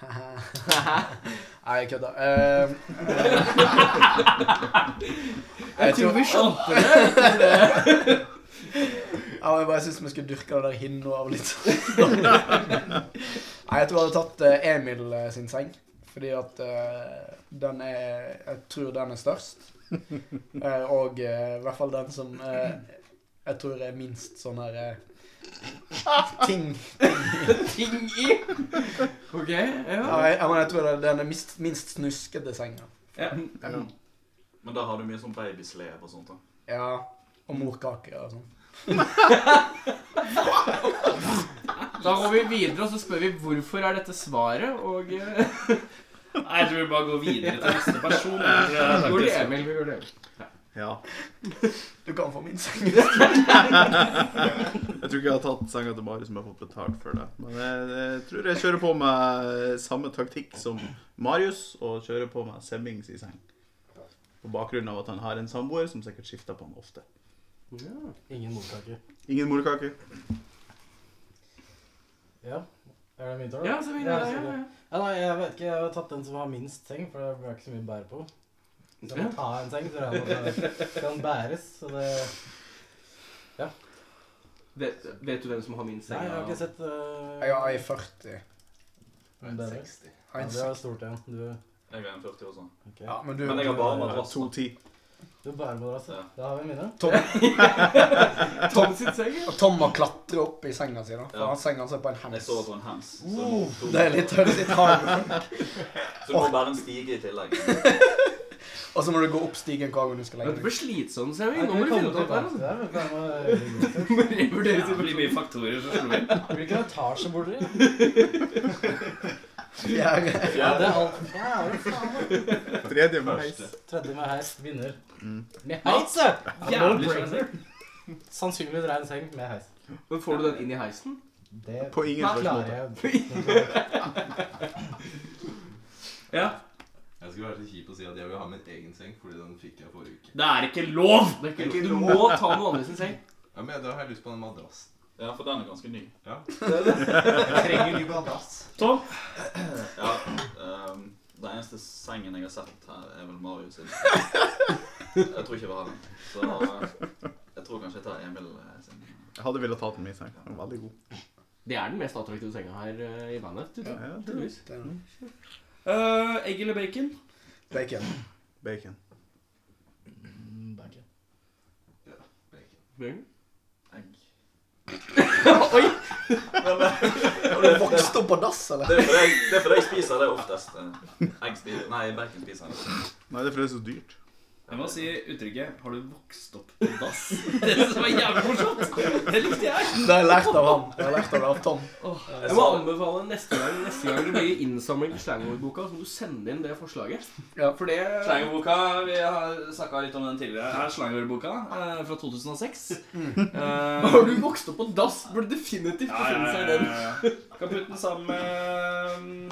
Nei, jeg kødder. Eh, eh, jeg tror skjønte Ja, men Jeg bare syns vi skulle dyrke det der hinna av litt. Nei, jeg tror jeg hadde tatt eh, Emil eh, sin seng. Fordi at eh, den er Jeg tror den er størst. Eh, og eh, i hvert fall den som eh, jeg tror er minst sånn her eh, Ting. Ting i? Ok, ja. Ja, jeg, jeg, mener, jeg tror det er den minst, minst snuskete senga. Ja. Men da har du mye sånn babyslev og sånt. da. Ja. Og morkake og sånn. Da går vi videre, og så spør vi hvorfor er dette svaret, og eh, Nei, jeg tror vi bare går videre til neste person. jeg tror jeg. Vi går til Emil. Vi går til Emil. Ja. Du kan få min seng. jeg tror ikke jeg har tatt senga til Mari som jeg har fått betalt for det. Men jeg, jeg tror jeg kjører på med samme taktikk som Marius, og kjører på med Semmings i seng. På bakgrunn av at han har en samboer som sikkert skifter på han ofte. Ja. Ingen morkake. Ingen morkake. Ja. Er det min tur, da? Ja, så min, ja, ja, så ja, bra. ja. ja nei, jeg vet ikke. Jeg har tatt den som har minst seng, for det ble ikke så mye å bære på. Så jeg må Ja. ta en seng, så den kan bæres. Så det Ja. Vet, vet du hvem som har min seng? Nei, jeg har ikke sett eh, Jeg har I40. en 60. Ja, det er stort igjen. Du, Jeg er en 40 år sånn. Ja, men men, du- jeg har bare du- madrass. da. 210. du bærer på det, altså. Da har vi mine. Tom, Tom sitt seng, ja. Og Tom må klatre opp i senga si, da. For Ja. han senga hans er på en Jeg hems. sover på en hems. så Uh, to- det er litt høres litt hard. Så du må bære en stige i tillegg. Og så må du gå opp stigen hver gang du skal Dette legge deg. blir slitsomt, ser vi. Nå må du finne ut av det. her, her. altså. Må revurdere Jævlig mye faktorer som slår inn. Hvilken etasje bor dere i? Fjerde. Ja, det er alt. Ja, det er faen, da. Tredje med heis. Tredje med heis vinner. Mm. Med heis, ja! Jævlig No-brainer. Sannsynligvis rein seng med heis. Men får du den inn i heisen? Det På ingen Nei, slags klarer måte. Ja. Jeg skulle være så kjip og si at jeg vil ha min egen seng, fordi den fikk jeg forrige uke. Det er ikke lov! Det er ikke lov. Du må ta noen andre sin seng. Ja, men Da har jeg lyst på den madrassen. Ja, for den er ganske ny. Ja. Jeg trenger ny madrass. Tom? Ja, ehm, den eneste sengen jeg har sett her, er vel Marius sin. Jeg tror ikke jeg vil ha den. Så eh, jeg tror kanskje jeg tar Emil eh, sin. Jeg hadde villet tatt den i seng. Den er veldig god. Det er den mest attraktive senga her eh, i bandet. Ja, ja, det er tydeligvis. Det er det. Øh, Eh, egg eller bacon? Bacon. Bacon. Mm, Bacon. Bjørn? Egg. Oi! Men, eh, Har du vokst opp på dass, Det eller? er fordi jeg, det er fordi jeg spiser det oftest. eh, Egg spiser Nei, bacon spiser jeg ikke. Nei, det er fordi det er så dyrt. Jeg må si uttrykket 'har du vokst opp på dass'? Det synes jeg var jævlig morsomt. Det likte jeg. Det har jeg lært av han. Det har jeg lært av det av Tom. Jeg må anbefale neste gang Neste gang det blir innsamling til slangordboka, så må du sende inn det forslaget. Ja. For det Slangerboka, vi har snakka litt om den tidligere. Her er slangerboka eh, fra 2006. Eh, Har du vokst opp på dass, burde definitivt ja, ja, befinne ja, seg i den. ja, ja. Kan putte den sammen med mm,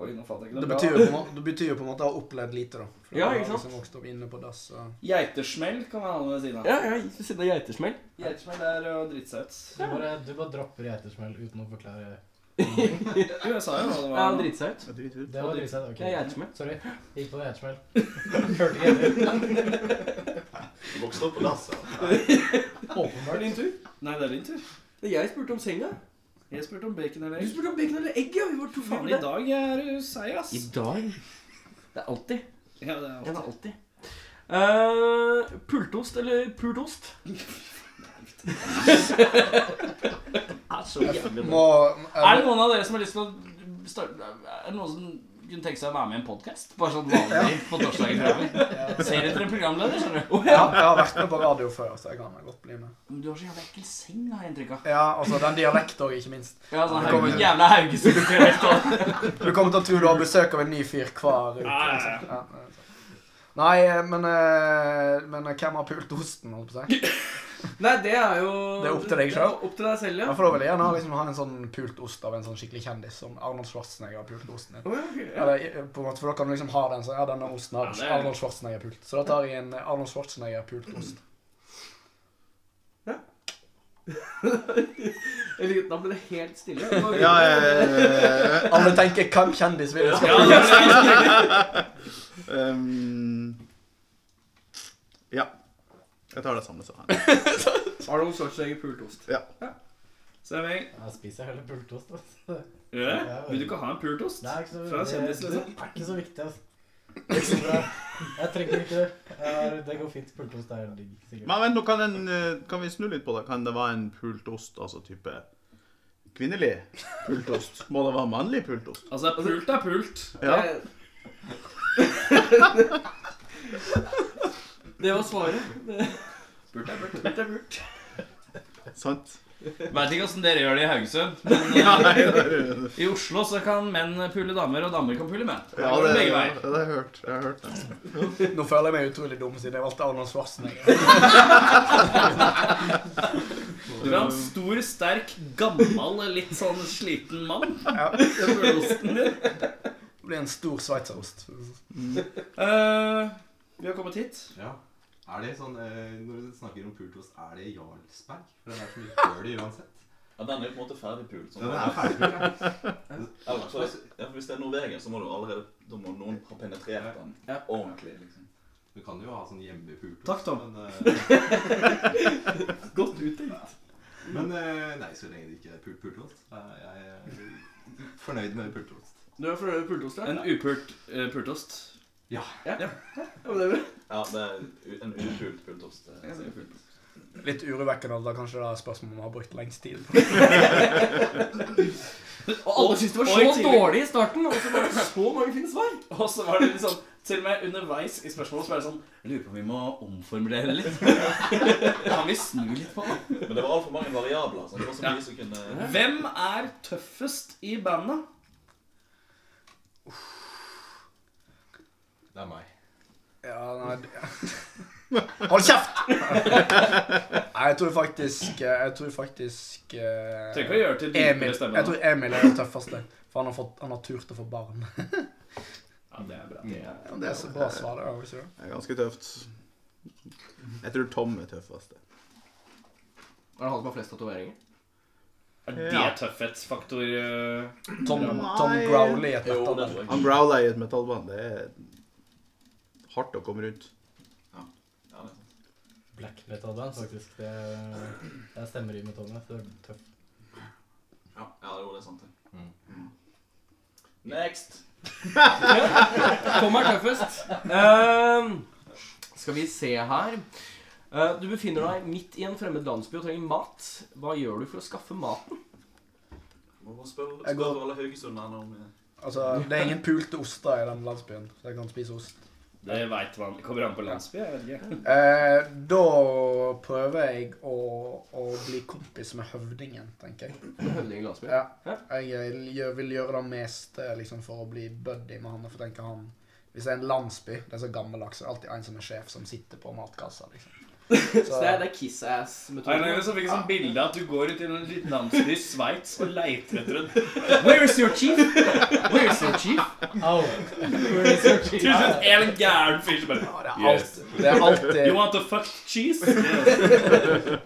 Oi, nå fant jeg ikke Det noe betyr jo på en måte, det betyr jo på en måte å ha opplevd lite, da. For du Ja, har ikke sant? Liksom vokst opp inne på dass. og- Geitesmell kan man ha ved siden av. Ja, ja, ved siden av geitesmell. Geitesmell er eh, å drite seg ut. Du bare, du bare dropper geitersmell uten å forklare. Jo, jeg sa jo hva det Ja, var. drite seg ut. Det er dritdyrt. Det var dritsett. Ok. Det er geitesmell. Sorry. Gikk på geitersmell. Hørte ikke etter. Du vokste opp på dass, ja. Det er Åpenbart. din tur. Nei, det er din tur. Det er jeg spurte om senga. Jeg spurte om bacon eller Du egg. spurte om bacon eller egg, ja. Vi var to Faen, i dag er du seig, ass. I dag? Det er alltid. Ja, det er En er alltid. alltid. Eh, pultost eller pultost? er så jævlig bra. Må, eh, Er det noen av dere som har lyst til å starte Er det noen som kunne tenke seg å være med i en podkast? Bare sånn vanlig på torsdagen fremover? Ser etter en programleder, skjønner du. Å, ja, ja. jeg har vært med på radio før, så jeg kan godt bli med. Men Du har så jævla ekkel seng, har jeg inntrykk av. Ja, altså den dialekten òg, ikke minst. Ja, sånn Det kommer- Hauge- jævla Haugesund-dialekt. og- Du kommer til å tro du har besøk av en ny fyr hver uke. Ja, ja, ja. liksom. Ja, det er sant. Nei, men, eh, men hvem har pult osten, holdt på å si? Nei, det er jo Det er opp til deg selv. Opp til deg selv, Ja, ja. for da vil jeg gjerne ha, liksom, ha en sånn pult ost av en sånn skikkelig kjendis, som Arnold Schwarzenegger har pult osten i. Å, ja, ok, ja. Eller, eh, på en måte, for da kan du liksom ha den sånn Ja, denne osten har Ja, det er- Arnold Schwarzenegger pult. Så da tar jeg en Arnold Schwarzenegger pult ost. Jeg liker- Da ble det helt stille. Det var- Ja, eh, Alle tenker 'hvem kjendis vil jeg skal Ja, pulte?' det var- ehm, Ja. Jeg tar det samme som han. Arnold Schwarzenegger pultost. Stemning. Jeg spiser heller pultost. Altså. Gjør det? Vil du ikke ha en pultost? Det er ikke så, Fra det, kjendis, det liksom? er ikke så viktig, altså. Det er ikke så bra. Jeg trenger ikke det. Jeg har- Det går fint. Pultost er digg. sikkert. Men vent, nå kan, en, eh, kan vi snu litt på det. Kan det være en pultost, altså type kvinnelig pultost? Må det være mannlig pultost? Altså, pult er pult. Ja. Det var svaret. Pult er pult. Pult er pult. Sant. Veit ikke åssen dere gjør det i Haugesund, men Nei, det eh, er- i Oslo så kan menn pule damer, og damer kan pule menn. Ja, går det, begge det, veier. har jeg hørt. Jeg har hørt det. Nå føler jeg meg utrolig dum siden jeg valgte Arnold Schwarzenegger. Du vil ha en stor, sterk, gammel, litt sånn sliten mann. Ja. Pulosten din. Det blir en stor sveitserost. Eh, vi har kommet hit. Ja. Er det sånn, eh, Når du snakker om pultost, er det Jarlsberg? For det er så mye høl i uansett. Ja, den er jo på en måte ferdig pult. Ja, den er ferdig pult, ja. Ja, så hvis- ja, for hvis det er Norvegia, så må du allerede Da må noen ha penetrert den ordentlig. liksom. Du kan jo ha sånn hjemmepultost. Takk, Tom. men, eh, Godt uttenkt. Men eh, nei, så lenge det ikke er pult pultost. er Jeg er fornøyd med pultost. Du er fornøyd med pultost, ja? En upult eh, pultost. Ja. Ja, ja. men det er bra. Ja, det er u- en upult eh. pultost. det er sikkert. Litt urovekkende alder, kanskje det er spørsmålet man har brukt lengst tid på. Og alle syntes det var så Og i tillegg- dårlig i starten, og så var det så mange fine svar. Og så var det litt sånn Til og med underveis i spørsmålet så var det sånn Jeg lurer på om vi må omformulere litt. Kan vi snu litt på det? Men det var altfor mange variabler. Så det var så mye Ja. som kunne Hvem er tøffest i bandet? Det er meg. Ja, nei det- Hold kjeft! Nei, jeg tror faktisk eh, Jeg tror faktisk eh, Trenger ikke å gjøre til dypere Emil, stemme, Jeg da. tror Emil er den tøffeste. For han har, fått, han har tur til å få barn. Ja, det er bra. Ja, det er så bra svar, det. er jo ikke det? Det er ganske tøft. Jeg tror Tom er tøffest. Var det han som har flest tatoveringer? Er det Ja. tøffhetsfaktor eh, Tom, drama? Tom Growley er et Jo, det metal. tror jeg. Han growler i et metallband. Det er hardt å komme rundt. Ja, det er sant. Black metal band, faktisk. Det jeg stemmer i med Tommy. så Det er tøft. Ja, ja, jo, det er sant. det. Next! Kom her tøffest. Ehm, skal vi se her Eh, Du befinner deg midt i en fremmed landsby og trenger mat. Hva gjør du for å skaffe maten? Må bare spørre Jeg går- spør alle haugesunderne om eh, Altså, det er ingen pulte oster i den landsbyen, så jeg kan spise ost. Det veit man. Det Kommer an på landsby. Jeg vet ikke. Eh, da prøver jeg å, å bli kompis med høvdingen, tenker jeg. Høvding i landsby. Ja. Jeg eh, gjør- vil gjøre det meste liksom, for å bli buddy med han. For jeg tenker han Hvis det er en landsby, det er så gammeldags, så er det alltid en som er sjef, som sitter på matkassa. liksom. Så det er, det er kiss-ass-metoden. Nei, nei, så fikk jeg sånn bilde at du går ut i en liten landsby i Sveits og leiter etter en Where is your chief? Where is your chief? Au! Where is your cheese? Til slutt en gæren fyr som bare Ja, det er Yes. alltid, det er alltid You want a fucked cheese?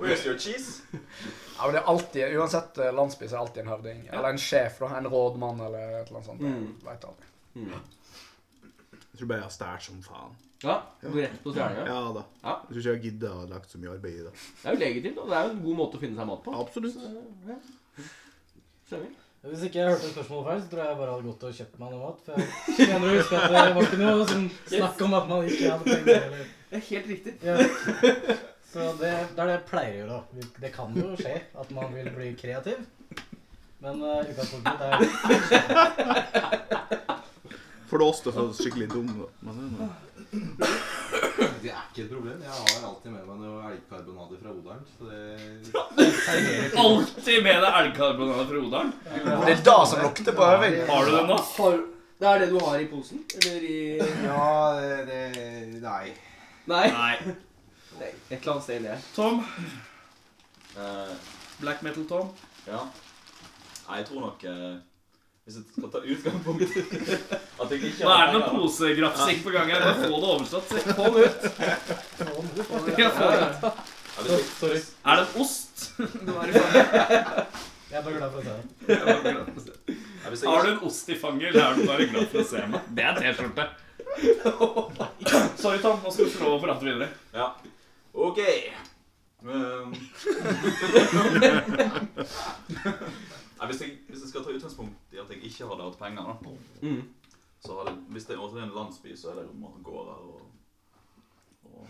Where's your cheese? Ja, men det er alltid, Uansett eh, landsby så er det alltid en høvding. Eller en sjef, da. En rådmann eller et eller annet sånt. Mm. Jeg vet aldri. Jeg tror bare jeg har stært som faen. Ja, du går rett på stjerninga. Ja da. Ja. Jeg tror ikke jeg gidder å ha lagt så mye arbeid i det. Det er jo legitimt, og det er jo en god måte å finne seg mat på. Absolutt. Ja. Stemmer. Hvis ikke jeg hørte spørsmålet feil, så tror jeg jeg bare hadde gått og kjøpt meg noe mat. For jeg mener å huske at det var ikke noe sånn snakk om at man ikke hadde penger. eller- Det er helt riktig. Ja. Så det, det er det jeg pleier å gjøre. da. Det kan jo skje at man vil bli kreativ. Men eh, utgangspunktet mitt er For det oss til å få skikkelig dum. da. Men det er noe. Det er ikke et problem. Jeg har alltid med meg noe elgkarbonader fra Odalen. Så det serverer til Alltid med deg elgkarbonade fra Odalen. Det er da som lukter på øving. Har du den nå? Har, det er det du har i posen? Eller i Ja, det, det Nei. Nei. Nei. Det er Et eller annet sted inni her. Tom. Eh, Black metal-Tom. ja. Nei, jeg tror nok eh, Hvis jeg skal ta utgangspunkt At jeg ikke Nå er det penger, noe da. posegrafsing på gang her. Bare få det overstått. Se, Kom ut. Ja, få det ut. Ja, hvis jeg- Sorry. Er det en ost? Jeg er bare glad for å se det. ja, hvis jeg Har du ikke- en ost i fanget, eller er du bare glad for å se meg? Det er T-skjorte. Sorry, Tom. Nå skal du få lov å prate videre. Ja. OK. Um. Nei, hvis, jeg, hvis jeg skal ta utgangspunkt i at jeg ikke hadde hatt penger, da, Mm. Så har det, hvis det er åter en landsby, så er det jo gårder og, og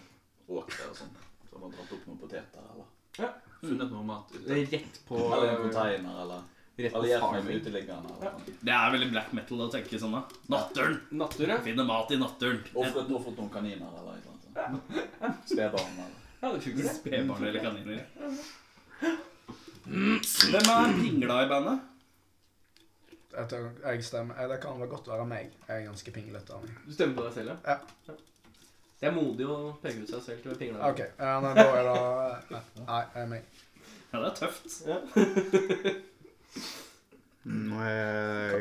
åkre og sånn. Så har man dratt opp noen poteter eller Ja. funnet noe mat ute. Rett på Eller en container eller Rett på Eller hjelp meg farming. med uteliggerne. Ja. Eller. noe. Det er veldig black metal å tenke sånn, da. Natturen! Nattur, ja. Finne mat i natturen. Offret, offret noen kaniner eller noe sånt. Spedbarn eller Ja, det funker, det. Spedbarn eller kaniner. Mm. Hvem er pingla i bandet? Jeg, tror jeg stemmer. eh, Det kan vel godt være meg. Jeg er ganske pinglete av meg. Du stemmer på deg selv, ja? ja. Det er modig å peke ut seg selv til å pingle. OK. Ja, nei, da er det eh, Nei, jeg er meg. Ja, det er tøft. Eh,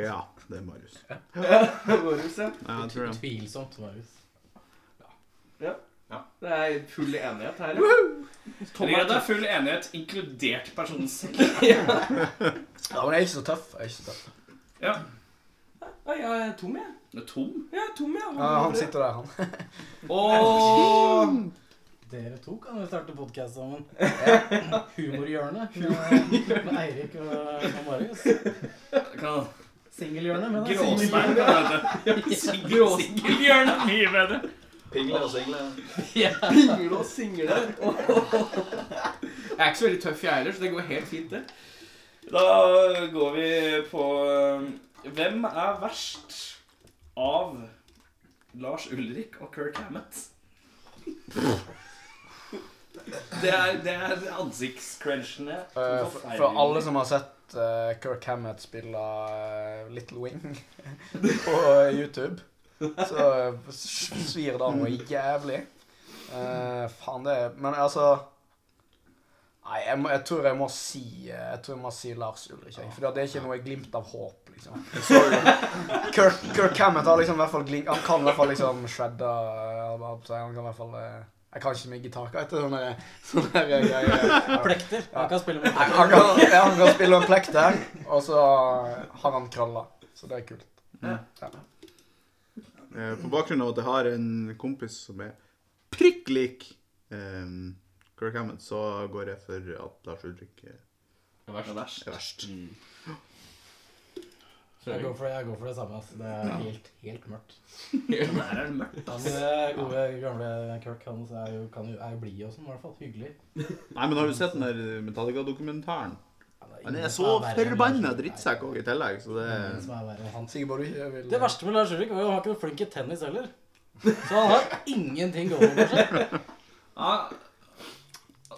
ja, det er Marius. Marius, ja. Ja, jeg tror det. Tvilsomt, Marius. Ja. Det er full enighet her. Eller ja, det er full enighet, inkludert personen selv. Ja, men jeg er ikke så tøff. Jeg er ikke så tøff. Ja. Ja, jeg er tom, jeg. Det er tom. Jeg er tom, jeg. Ja, Eh, han sitter der, han. Og Dere to kan jo starte podkast sammen. Humorhjørnet med, med Eirik og, og Marius. Kan- Singelhjørnet med deg. Gråstein. Singelhjørnet er mye bedre. Pingler og singler. Pingle og single. Jeg er ikke så veldig tøff, jeg heller, så det går helt fint, det. Da går vi på eh, Hvem er verst av Lars Ulrik og Kirk Hammett? Det er, det er ansiktscrunchene. Eh, for, for alle som har sett eh, Kirk Hammett spille eh, Little Wing på eh, YouTube, så eh, svir det noe jævlig. Eh, faen, det er Men altså Nei, jeg, må, jeg tror jeg må si eh, Jeg tror jeg må si Lars Ulrik. jeg, For det er ikke noe glimt av håp, liksom. Kirk, Kirk Hammett har liksom i hvert fall glimt Han kan i hvert fall liksom shredde eh, eller hva skal jeg si, Han kan i hvert fall eh, Jeg kan ikke så mye gitarkite. Sånne, sånne eh, greier. Plekter. Han kan spille med Nei, Han plekter. kan, ja, han kan spille en plekk der, og så har han krøller. Så det er kult. Ja. Eh, på bakgrunn av at jeg har en kompis som er prikk lik eh, Kirk Hammett, så går jeg for at Lars Ulrik eh, Det er verst. er verst. Mm. Jeg går for det, jeg går for det samme. ass. Det er helt, helt mørkt. Den her er mørkt, Han ass. eh, gode, gamle Kirk Hans er jo, kan jo, er jo blid og sånn, i hvert fall. Hyggelig. Nei, men har du sett den der Metallica-dokumentaren? Han ingen er som så er verre enn forbanna Lars Ulrik. drittsekk også i tillegg, så det Ingen som er verre enn han. Sikkert bare du ikke vil Det verste med Lars Ulrik var jo at han var ikke noe flink i tennis heller. Så han har ingenting gående for seg. Ja.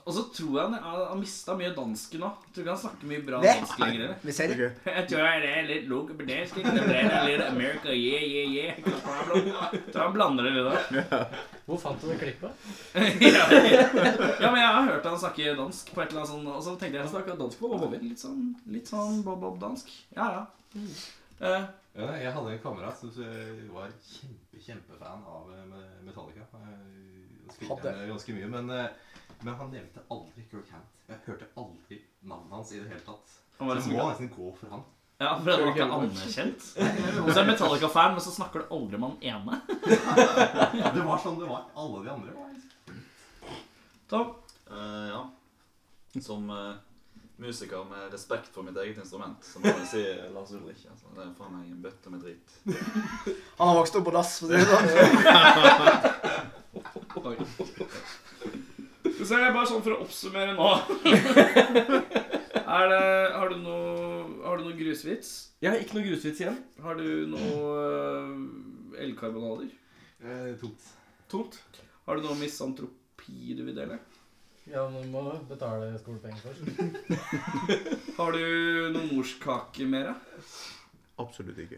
Og så tror jeg han, han har mista mye dansk nå. Jeg tror ikke han snakker mye bra Det- dansk lenger. eller? Vi ser det. Ok. Jeg tror jeg det er litt log på det. slik. Det ble en litt America, yeah, yeah, yeah. Ikke problem. Jeg tror han blander det litt. Hvor fant du det klippet? Ja, ja, men jeg har hørt han snakke dansk på et eller annet sånt, og så tenkte jeg Snakka dansk på Bob-Bob. Litt sånn, litt sånn Bob-Bob-dansk. Ja, ja. Eh, Ja, nei, jeg hadde en kamerat som eh, var kjempe, kjempefan av eh, Me- Metallica. Eh, og Spilte Hadde. henne ganske mye, men, eh, men han nevnte aldri Kirk Hammett. Jeg hørte aldri navnet hans i det hele tatt. Han var Så jeg liksom- må nesten gå for han. ja, for han var ikke anerkjent. Og så er Metallica-fan, men så snakker du aldri med han ene. Det var sånn det var. Alle de andre var liksom Tom, Eh, ja. Som eh, musiker med respekt for mitt eget instrument, så må jeg si eh, Lars Ulrik. Altså, det er faen meg en bøtte med drit. Han har vokst opp på dass. for å si det sånn. Så er det bare sånn for å oppsummere nå. er det, har, du noe, har du noe grusvits? Jeg har ikke noe grusvits igjen. Har du noe eh, elkarbonader? eh, tomt. Tomt. Har du noe misantropi du vil dele? Ja, men du må betale skolepenger først. Har du noe morskake mer? da? absolutt ikke.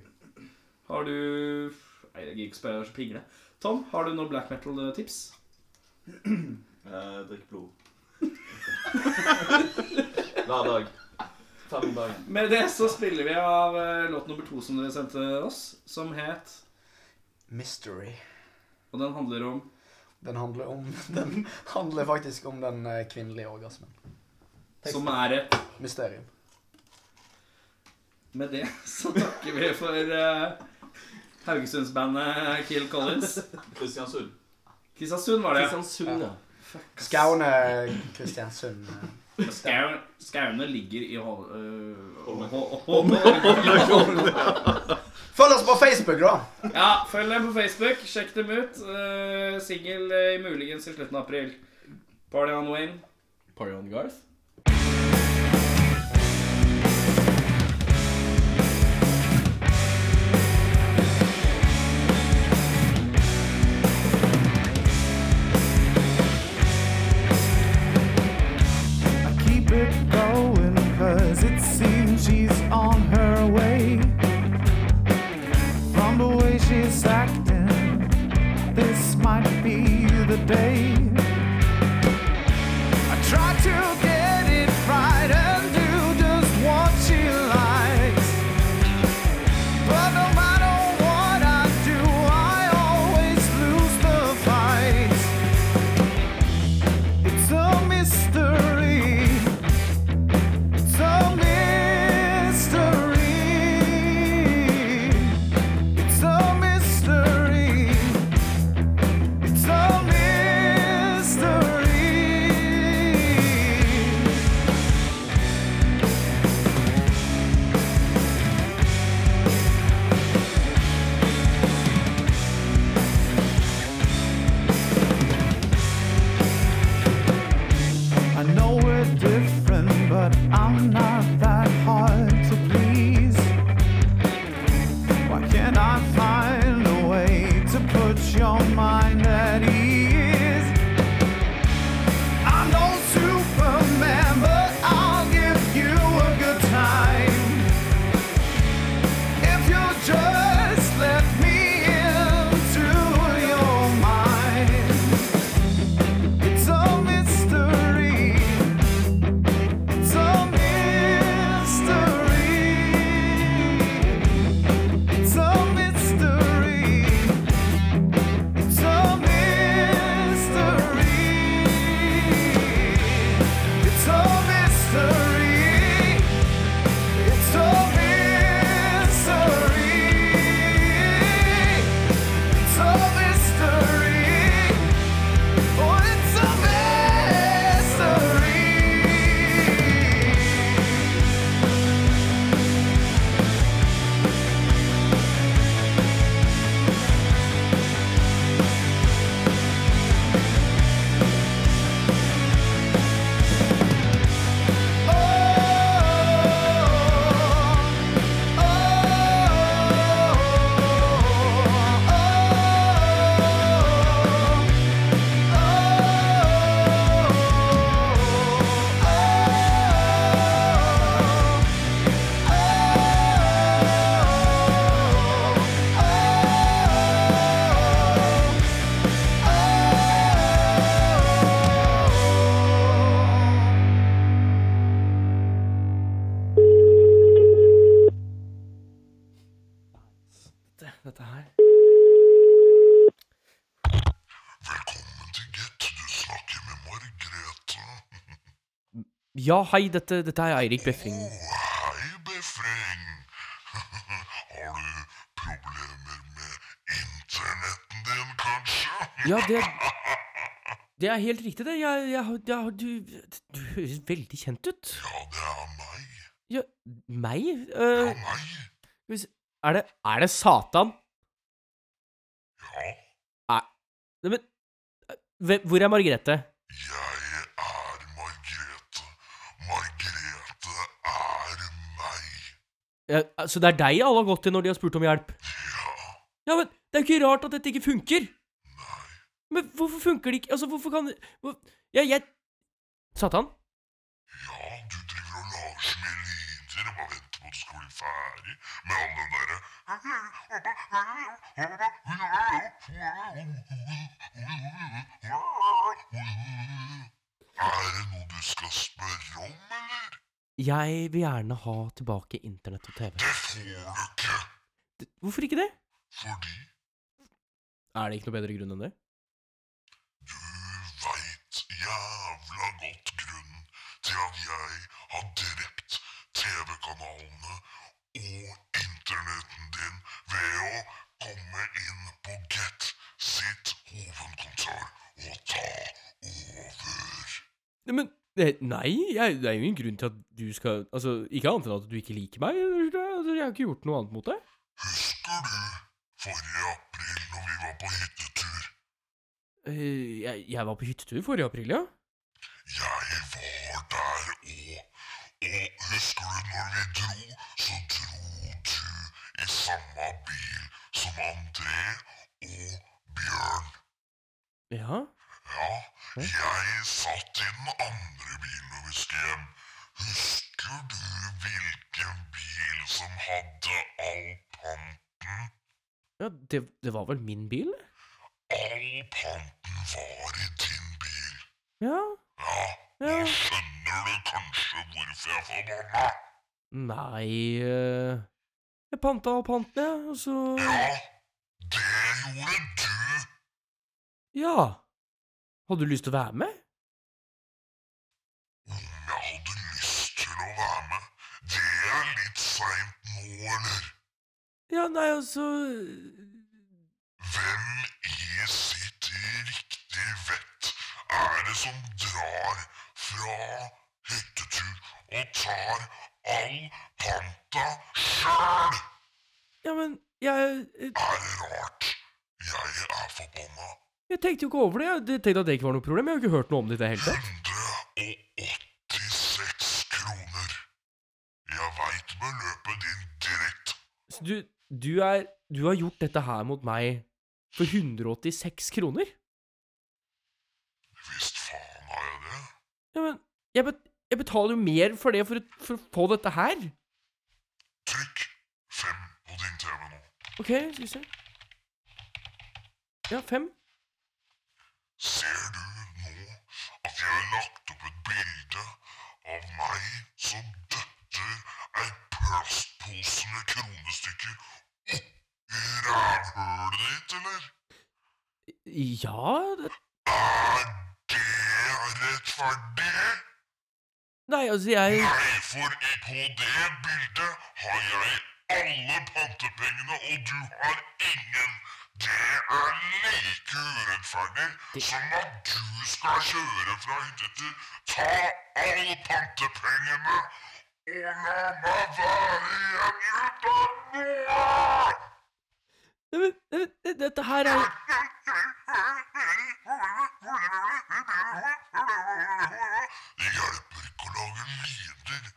Har du Nei, jeg gidder ikke spørre, jeg er så pingle. Tom, har du noe black metal-tips? Eh, drikk blod. Hver dag. Fem om dagen. Med det så spiller vi av eh, låt nummer to som dere sendte oss, som het Mystery. Og den handler om Den handler, om, den handler faktisk om den eh, kvinnelige orgasmen. Som er et Mysterium. Med det så takker vi for eh, Haugesundsbandet Kill Collins. Kristiansund. Kristiansund var det. Kristiansund, ja. Skaune Kristiansund. eh. Skau- Skaune ligger i Hol... eh, Hol- Hol- Hol- For følg oss på Facebook, da. Ja, følg dem på Facebook. Sjekk dem ut. Uh, Singel eh, muligens i slutten av april. Party on Wayne. Party on Garth. I keep it going cause it seems she's on her way From the way she's acting This might be the day I try to get it right and do just what she likes But no matter what I do I always lose the fight it's a mystery. It's a mystery. It's a mystery. It's a mystery. I know we're different, but I'm not that hard to please. Why can't I find a way to put your mind at ease? I'm no Superman, but I'll give you a good time. If you'll just let me into your mind. It's a mystery. It's a mystery. It's a mystery. It's a mystery. It's a mystery. It's a mystery. It's a mystery. Oh, it's a mystery. Oh. Dette her Ja, hei, dette, dette er Eirik Befring. Hei, Befring. Har du problemer med internetten din, kanskje? Ja, det Det er helt riktig, det. Jeg, jeg, har- jeg, har- du, du høres veldig kjent ut. Ja, det er meg. Ja, meg? Eh, skal vi se. Er det, er det Satan? Ja, Er, nei, men eh, hve- Hvor er Margrethe? jeg er Margrethe. Margrethe er meg. Ja, så det er deg alle har gått til når de har spurt om hjelp? Ja, men det er jo ikke rart at dette ikke funker. Men hvorfor funker det ikke? Altså, hvorfor kan hvor, Ja, jeg Satan? Ja, du driver og lager så mye lyder og bare venter på at du skal bli ferdig med all den derre Er det noe du skal spørre om, eller? Jeg vil gjerne ha tilbake internett og TV. Det får du ikke. D- Hvorfor ikke det? Fordi Er det ikke noe bedre grunn enn det? du veit jævla godt grunnen til at jeg har drept TV-kanalene og internetten din ved å komme inn på Get sitt hovedkontor og ta over. Nei, Men eh, Nei, jeg, det er jo ingen grunn til at du skal Altså, ikke annet enn at du ikke liker meg. eller? Altså, jeg har ikke gjort noe annet mot deg. Husker april når vi var på hyttetur. Eh, jeg, jeg var på hyttetur forrige april, ja. Jeg var der òg. Og husker du når vi dro, så dro du i samme bil som André og Bjørn. Ja. Ja, jeg satt i den andre bilen og vi skulle hjem. Husker du hvilken bil som hadde all panten? ja det, det var vel min bil? All panten var i din bil. Ja. Ja, nå Ja. skjønner du kanskje hvorfor jeg er forbanna. Nei eh, Jeg panta og panten, jeg, og så Ja, det gjorde du. Ja. Hadde du lyst til å være med? Om jeg hadde lyst til å være med, det er litt seint nå, eller? Ja, nei, altså, og så Hvem i sitt riktige vett er det som drar fra hyttetur og tar all panta sjøl? Ja, men jeg eh, Er det rart? Jeg er forbanna. Jeg tenkte jo ikke over det. Jeg Det- tenkte at det ikke var noe problem. Jeg har jo ikke hørt noe om det i det hele tatt. 86 kroner. Jeg veit beløpet din dritt. Så du, du er Du har gjort dette her mot meg for 186 kroner? Visst faen har jeg det. Ja, men jeg, bet jeg betaler jo mer for det for, å- for å få dette her. Fem på din TV nå. OK, skal vi se. Ja, fem. Ser du nå at jeg har lagt opp et bilde av meg som døtter ei plastpose med kronestykker opp i rævhølet ditt, eller? Ja det... Er det rettferdig? Nei, altså, jeg Nei, for i- på det bildet har jeg alle pantepengene, og du har ingen. Det er like urettferdig som at du skal kjøre fra hyttetur, ta alle pantepengene og la meg være igjen uten noe! Nei, men, nei, men, det- Dette her er Det hjelper ikke å lage lyder,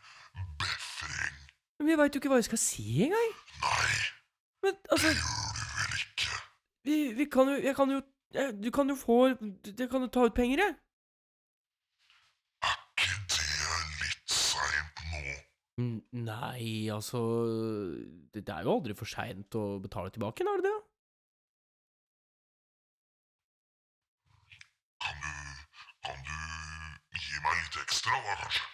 befring. Men jeg veit jo ikke hva jeg skal si engang. Nei, Men altså Vi, vi kan jo Jeg kan jo jeg, Du kan jo få Jeg kan jo ta ut penger, jeg. litt seint nå. Mm, Nei, altså Det det er jo aldri for seint å betale tilbake, er det det? Kan du gi meg litt ekstra, da, kanskje?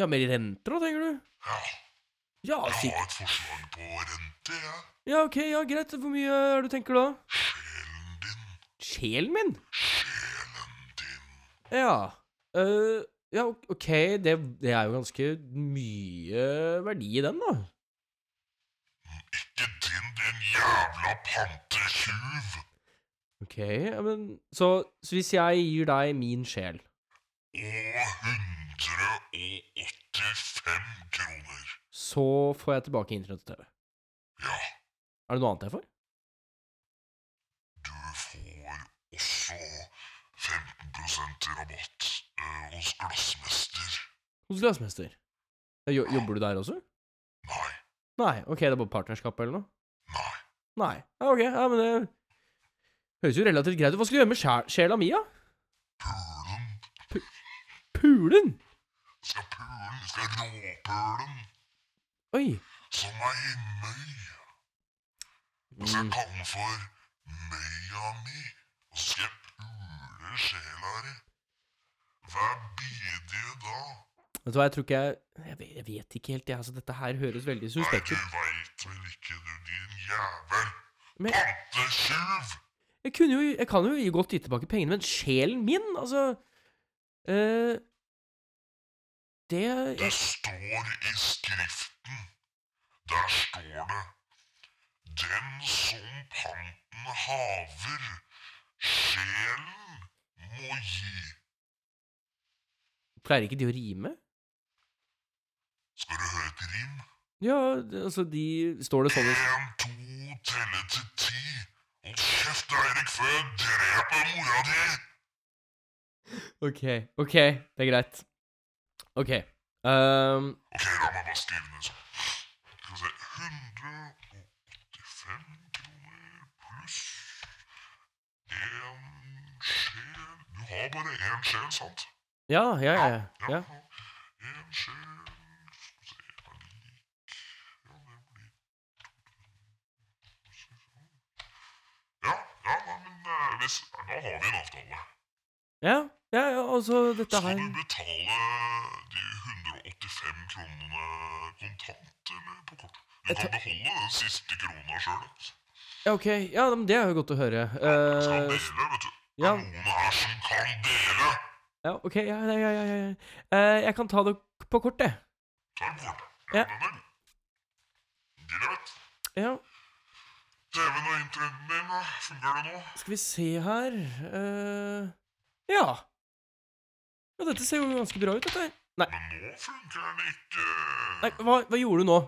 Ja, mer i renter, da, tenker du? Ja. Ja, Jeg sikkert. har et forslag på rente, jeg. Ja, ok, ja, greit. Hvor mye er det du tenker da? Sjelen min. Sjelen min? Ja. eh, ja, ok, ok, det, det er jo ganske mye verdi i den, da. Mm, Jævla pantetjuv! Ok, ja, men så, så hvis jeg gir deg min sjel Og 185 kroner. så får jeg tilbake internett og TV. Ja. Er det noe annet jeg får? Du får også 15 i rabatt eh, hos Glassmester. Hos glassmester. Ja, Jo, jobber du der også? Nei. Nei, ok, det er bare partnerskap eller noe? Nei. Nei, ja, ok, ja, men det høres jo relativt greit ut. Hva skal du gjøre med sjel sjela mi, da? Pulen. Pulen? Skal pulen, skal råpulen, Oi. som er i møy. Jeg skal kalle den for møya mi, og så skal jeg pule sjela di. Hva blir det da? Vet du hva, jeg tror ikke jeg Jeg vet, jeg vet ikke helt, jeg. Altså, dette her høres veldig suspekt ut. Veit vel ikke du, din jævel Men pantetjuv! jeg kunne jo Jeg kan jo gi- godt gi tilbake pengene, men sjelen min, altså eh, Det Det jeg, står i skriften. Der står det Den som panten haver, sjelen må gi. Pleier ikke de å rime? Skal du høre et rim? Ja, det- altså, de Står det sånn i En, to, telle til ti. si Hold kjeft, Eirik, før jeg dreper mora di! OK, ok, det er greit. OK. Um, Ok, la meg bare skrive ned sånn. Skal vi se 185 kroner pluss én sjel Du har bare én sjel, sant? ja, ja, ja. ja. Én sjel Ja, nei, men eh, hvis, da har vi en avtale. Ja, ja, ja altså dette her Skal du betale de 185 kronene kontant eller på kort? Du kan beholde den siste krona sjøl. Ja, OK. Ja, men det er jo godt å høre. Skal Uh, dele, vet du. Det ja. er noen her som kan dele. Ja, ok, ja, ja, ja, ja, ja. Eh, Jeg kan ta det på kort, jeg. Ta en kort. Ja. Greit. ja. TV-en og internetten din, da? Fungerer det nå? Skal vi se her eh, Ja. Ja, dette ser jo ganske bra ut, dette her. Nei. Nå funker den ikke. Nei hva, hva gjorde du nå?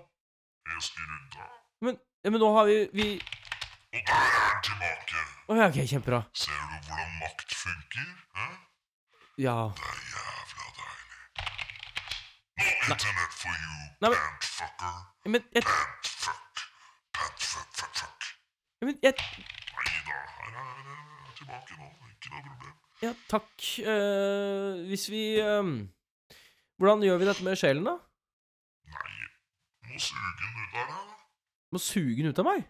Jeg skrudde av. Men, ja, men nå har vi Vi Og der er den tilbake. Å ja, ok, kjempebra. Ser du hvordan makt funker? Hæ? Ja. Det er jævla deilig. Nå, internett for you, Nei, men- pantfucker. Ja, Men jeg Pantfuck. Pantfuck, fuck, fuck. ja, Men jeg Nei da, her er jeg tilbake nå. Ikke noe problem. Ja, takk. Eh, hvis vi ehm, Hvordan gjør vi dette med sjelen, da? Må suge den ut av deg, da. Må suge den ut av meg?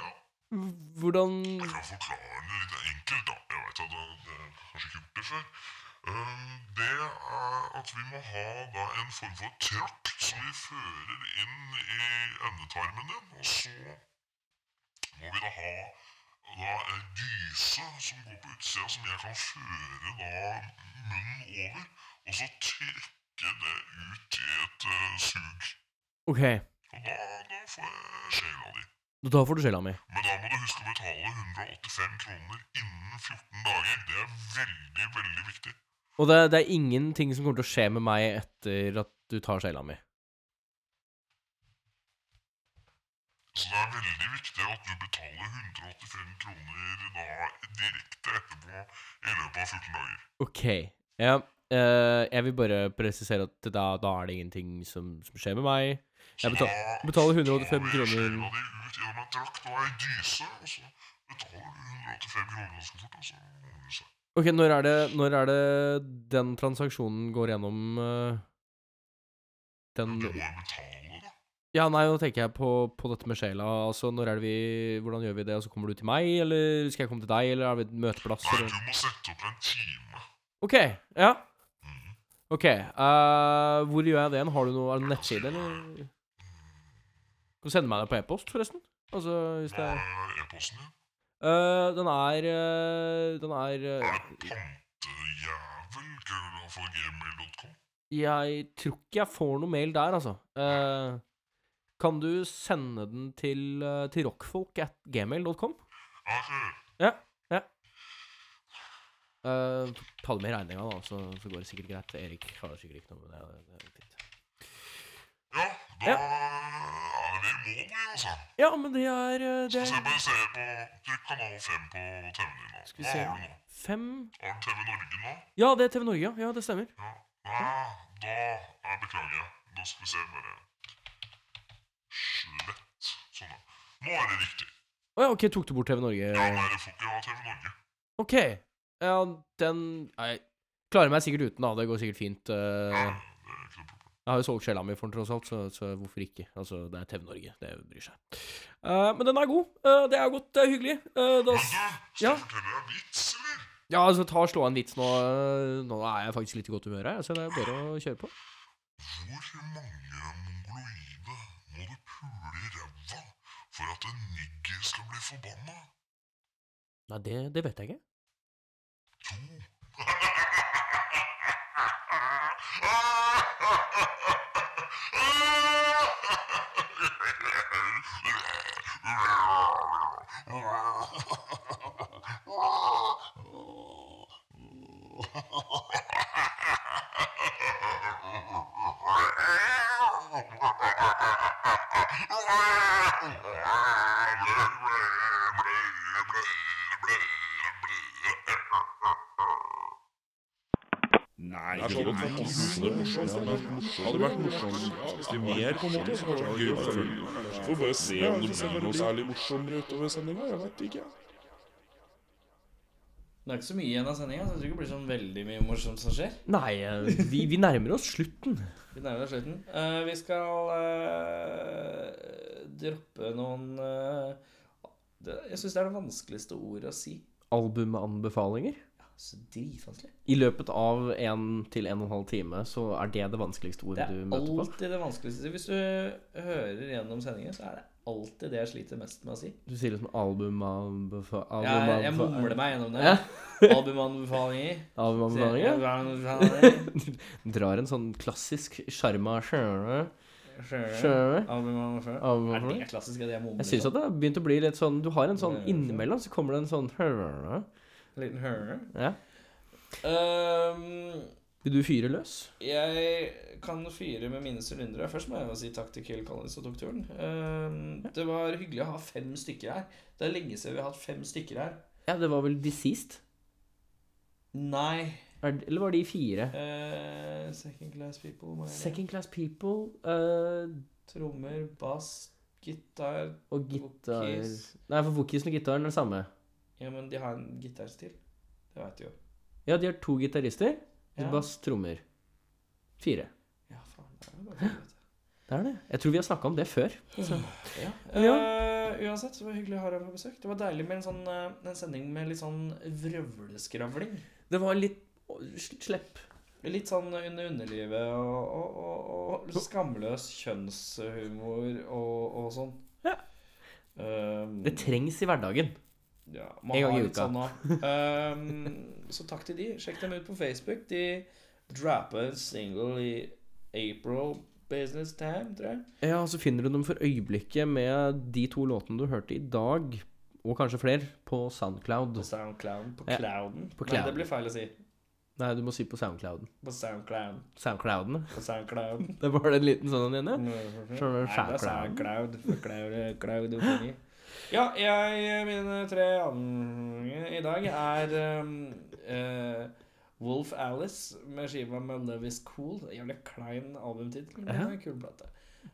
H- Hvordan Jeg kan forklare det litt enkelt, da. Jeg vet at det- det er kanskje ikke gjort det før. Ehm, Det er at vi må ha da en form for trakt som vi fører inn i endetarmen din, og så må vi da ha da en dyse som går på utsida, som jeg kan føre da munnen over, og så trykke det ut i et eh, sug. OK, Og da, da får jeg sjela di. da får du sjela mi. Men da må du huske å betale 185 kroner innen 14 dager. Det er veldig, veldig viktig. Og det, det er ingenting som kommer til å skje med meg etter at du tar sjela mi. Så det er veldig viktig at du betaler 185 kroner da direkte etterpå i løpet av 14 dager. OK. Ja, eh, jeg vil bare presisere at da, da er det ingenting som, som skjer med meg. Jeg betal, betaler 185 kroner Sjela di ut gjennom en drakt og ei dyse, og så betaler du 185 kroner ganske fort, og så ordner det seg. OK, når er det, når er det den transaksjonen går gjennom eh, den Du må jo betale, da. Ja, nei, nå tenker jeg på, på dette med sjela. Altså, når er det vi Hvordan gjør vi det? Altså, kommer du til meg, eller skal jeg komme til deg, eller har vi et møteplass? Nei, Eller? du må sette opp en time. Mm. OK. Ja. OK. eh, hvor gjør jeg det? hen? Har du noe er det en nettside, eller? Mm. Kan du sende meg det på e-post, forresten? Altså, hvis det er Hva er e-posten din? Eh, Den er eh, Den er eh, Pantejævel, krøllalfa, gmail.com. Jeg tror ikke jeg får noe mail der, altså. Eh, kan du sende den til, eh, til rockfolk at gmail.com? Ja. ja. Eh, ta det med i regninga, da, så, så går det sikkert greit. Erik har sikkert ikke noe med det. det, det er fint. Da er vi i mål, vi, altså. Ja, men det er eh, det Skal se, er, bare se på Trykk kanal 5 på TV-en din nå. Skal vi se Hva har du nå? Fem Har du TV Norge nå? Ja, det er TV Norge, ja. ja. Det stemmer. Nei, da jeg beklager. Da skal vi se bare Slett. Sånn, da. Nå er det riktig. Å ja, OK, tok du bort TV Norge? Ja, nei, du får ikke ha TV Norge. OK. Ja, den Nei, klarer meg sikkert uten, da. Det går sikkert fint. eh. jeg har jo solgt sjela mi for den, tross alt, så, så hvorfor ikke? Altså, det er TV Norge. Det bryr seg. Eh, men den er god. Eh, det er godt. Det er hyggelig. Eh, da, s- ja. Forteller jeg en vits, eller? ja, altså, ta og slå en vits nå. eh, Nå er jeg faktisk litt i godt humør her, så det er bare å kjøre på. Hvor mange mongoloide må du pule i ræva for at en nigger skal bli forbanna? Nei, det, det vet jeg ikke. Blah, blah, blah. er sånn Nei, det er morsomt, men hadde det vært morsomt hvis de mer, på en måte, så kanskje det var gøy å følge. Så Får vi bare se om det blir noe særlig morsommere utover sendinga. Jeg vet ikke. Det er ikke så mye igjen av sendinga, så jeg tror ikke det blir sånn veldig mye morsomt som skjer. Nei, eh, vi, vi nærmer oss slutten. Vi nærmer oss slutten. Eh, vi skal eh, droppe noen eh, det, Jeg syns det er det vanskeligste ordet å si. Albumanbefalinger. Så dritvanskelig. I løpet av en til en og en halv time så er det det vanskeligste Det ordet er du møter på. alltid det vanskeligste. Hvis du hører gjennom sendingen, så er det alltid det jeg sliter mest med å si. Du sier liksom albumanbefa- Jeg, albumanbefa- jeg mumler meg gjennom det. Ja. Albumanbefalinger. Albumanbefalinger? Drar en sånn klassisk sjarma sjøle. Sjøle. Albumanbefalinger. Er det klassisk, er det jeg mumler Jeg syns sånn? at det har begynt å bli litt sånn Du har en sånn innimellom, så kommer det en sånn sjøle. Liten hører. Ja. Ehm, Vil du fyre løs? Jeg kan fyre med mine sylindere. Først må jeg jo si takk til Kill Collins som tok turen. Ehm, Det var hyggelig å ha fem stykker her. Det er lenge siden vi har hatt fem stykker her. Ja, det var vel Deceased? Nei. Eller var de fire? Eh, second Class People. hva er det? Second Class People eh, Trommer, bass, gitar og gitar vokis. Nei, for vokisen og gitaren er det samme. Ja, men de har en gitarstil. Det veit du jo. Ja, de har to gitarister. Ja. Bass, trommer. Fire. Ja, faen. Det er jo bare det, vet du. Det er det. Jeg tror vi har snakka om det før. Så. Ja. Men ja. Eh, uansett, så var det hyggelig å ha deg på besøk. Det var deilig med en, sånn, eh, en sending med litt sånn vrøvleskravling. Det var litt slepp. Litt sånn under underlivet og, og, og, og skamløs kjønnshumor og, og sånn. Ehm, Ja. Det trengs i hverdagen. Ja, man en gang har i litt uka. Sånn nå. um, så takk til de. Sjekk dem ut på Facebook. De droppa en single i April Business Time, tror jeg. Ja, og så finner du dem for øyeblikket med de to låtene du hørte i dag, og kanskje flere, på Soundcloud. På Soundcloud. På Ja, Clouden. på Nei, det Clouden. blir feil å si. Nei, du må si på Soundclouden. På Soundcloud. Soundclouden. På Soundcloud. Det var det en liten sånn en igjen, ja? Nei, Skjønner du? det er Soundcloud. For Cloud- Cloudophonie. Ja, jeg, mine tre andre i dag er um, eh, Wolf Alice med skiva med Love Is Cool. Jævlig klein albumtittel, men det er en kul plate.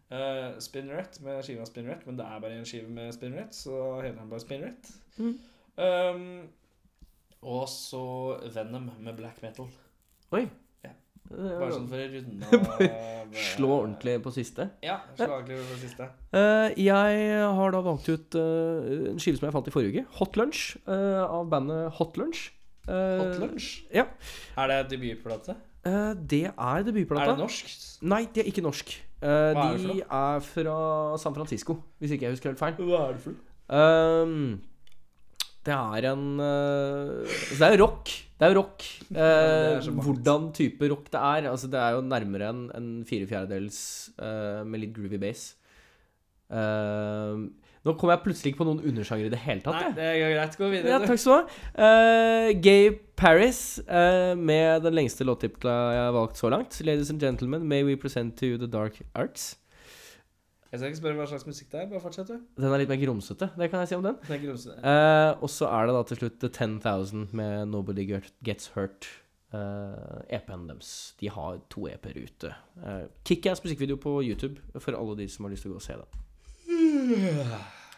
Uh, Spinneret med skiva Spinneret, men det er bare en skive med Spinneret, så heter den bare Spinneret. Mm. Um, og så Venom med black metal. Oi. Ja. var- Bare sånn for å runde av eh, Slå ordentlig på siste. Ja, slaglig for det siste. Eh, jeg har da valgt ut eh, en skive som jeg fant i forrige uke. Hot Lunch eh, av bandet Hot Lunch. Eh, Hot Lunch? Ja. Er det debutplate? Eh, det er debutplata. Er det norsk? Nei, de er ikke norsk. Eh, Hva er det for de er fra San Francisco, hvis ikke jeg husker helt feil. Hva er det for noe? Ehm, det er en eh, altså Det er jo rock. Det er jo rock. Eh, det er så mangt. hvordan type rock det er. Altså Det er jo nærmere en, en fire fjerdedels eh, med litt groovy bass. Eh, nå kom jeg plutselig ikke på noen undersjanger i det hele tatt. Nei, jeg. det er greit. Gå videre, Ja, du. takk skal du ha. Eh, Gay Paris eh, med den lengste låttittelen jeg har valgt så langt. Ladies and gentlemen, may we present to you the dark arts. Jeg skal ikke spørre hva slags musikk det er. Bare fortsett, du. Den er litt mer grumsete, det kan jeg si om den. Den er grumsete. Eh, og så er det da til slutt The 10,000 med Nobody Get- Gets Hurt. Uh, EP-en deres. De har to EP-er ute. Uh, Kickass musikkvideo på YouTube for alle de som har lyst til å gå og se den.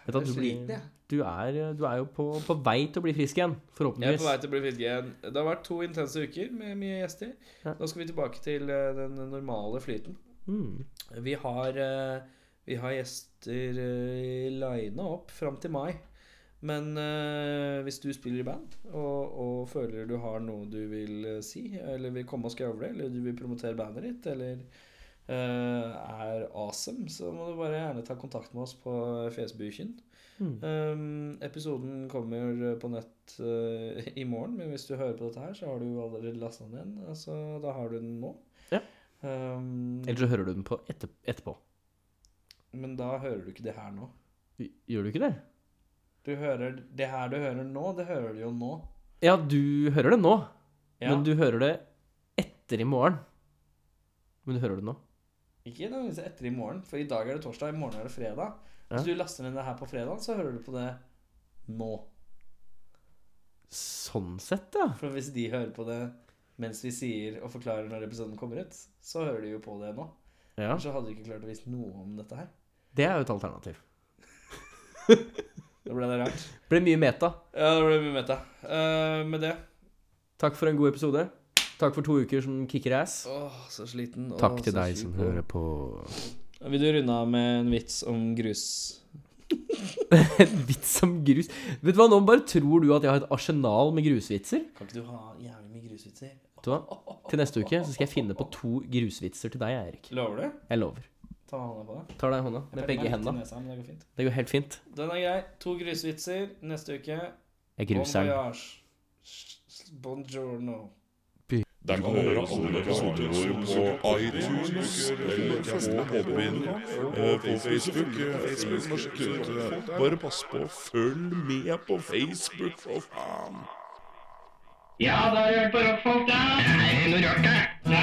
Vet du, hva, Jeg du, sliter, blir, jeg. du, er, du er jo på, på vei til å bli frisk igjen, Jeg er på vei forhåpentligvis. til å bli frisk igjen. Det har vært to intense uker med mye gjester. Nå skal vi tilbake til eh, den normale flyten. Mm. Vi har eh, Vi har gjester eh, lina opp fram til mai. Men eh, hvis du spiller i band og, og føler du har noe du vil eh, si, eller vil komme og skravle, eller du vil promotere bandet ditt, eller eh, er awesome, så må du bare gjerne ta kontakt med oss på Fjesbuken. Mm. Um, episoden kommer på nett eh, i morgen, men hvis du hører på dette her, så har du jo allerede lasta den igjen. Altså, da har du den nå. Ja. Um, Eller så hører du den på etter, etterpå. men da hører du ikke det her nå. Gjør du ikke det? Du hører, det her du hører nå, det hører du jo nå. Ja, du hører det nå. Ja. Men du hører det etter i morgen. Men du hører det nå. Ikke nødvendigvis etter i morgen, for i dag er det torsdag, i morgen er det fredag. Hvis Ja. du laster ned det her på fredag, så hører du på det nå. Sånn sett, ja. For hvis de hører på det mens vi sier og forklarer når episoden kommer ut, så hører de jo på det nå. Ja. Ellers Så hadde de ikke klart å vise noe om dette her. Det er jo et alternativ. Da ble det rart. Ble mye meta. Ja, det ble mye meta. Eh, med det Takk for en god episode. Takk for to uker som kicker ass. Åh, så sliten. Åh, Takk til så deg som sliten. hører på. Vil du runde av med en vits om grus? En vits som grus. Vet du hva, nå bare tror du at jeg har et arsenal med grusvitser. Kan ikke du ha jævlig mye grusvitser? Vet du hva? Til neste uke så skal jeg finne på to grusvitser til deg, Eirik. Lover du? Jeg lover. Ta hånda på deg. Tar deg i hånda Jeg med peker begge meg litt i hendene. nesa, men det går fint. Det går helt fint. Den er grei. To grusvitser neste uke. Jeg gruser den. Bon voyage. Buongiorno. Der kan du høre alle episodene våre på iTunes, eller på Podbean, eh, på Facebook. eh, Facebook må sjekke ut. eh, Bare pass på, følg med på Facebook, for faen! Ja, da har du hørt på rockfolk, da. Det er noe rart, det.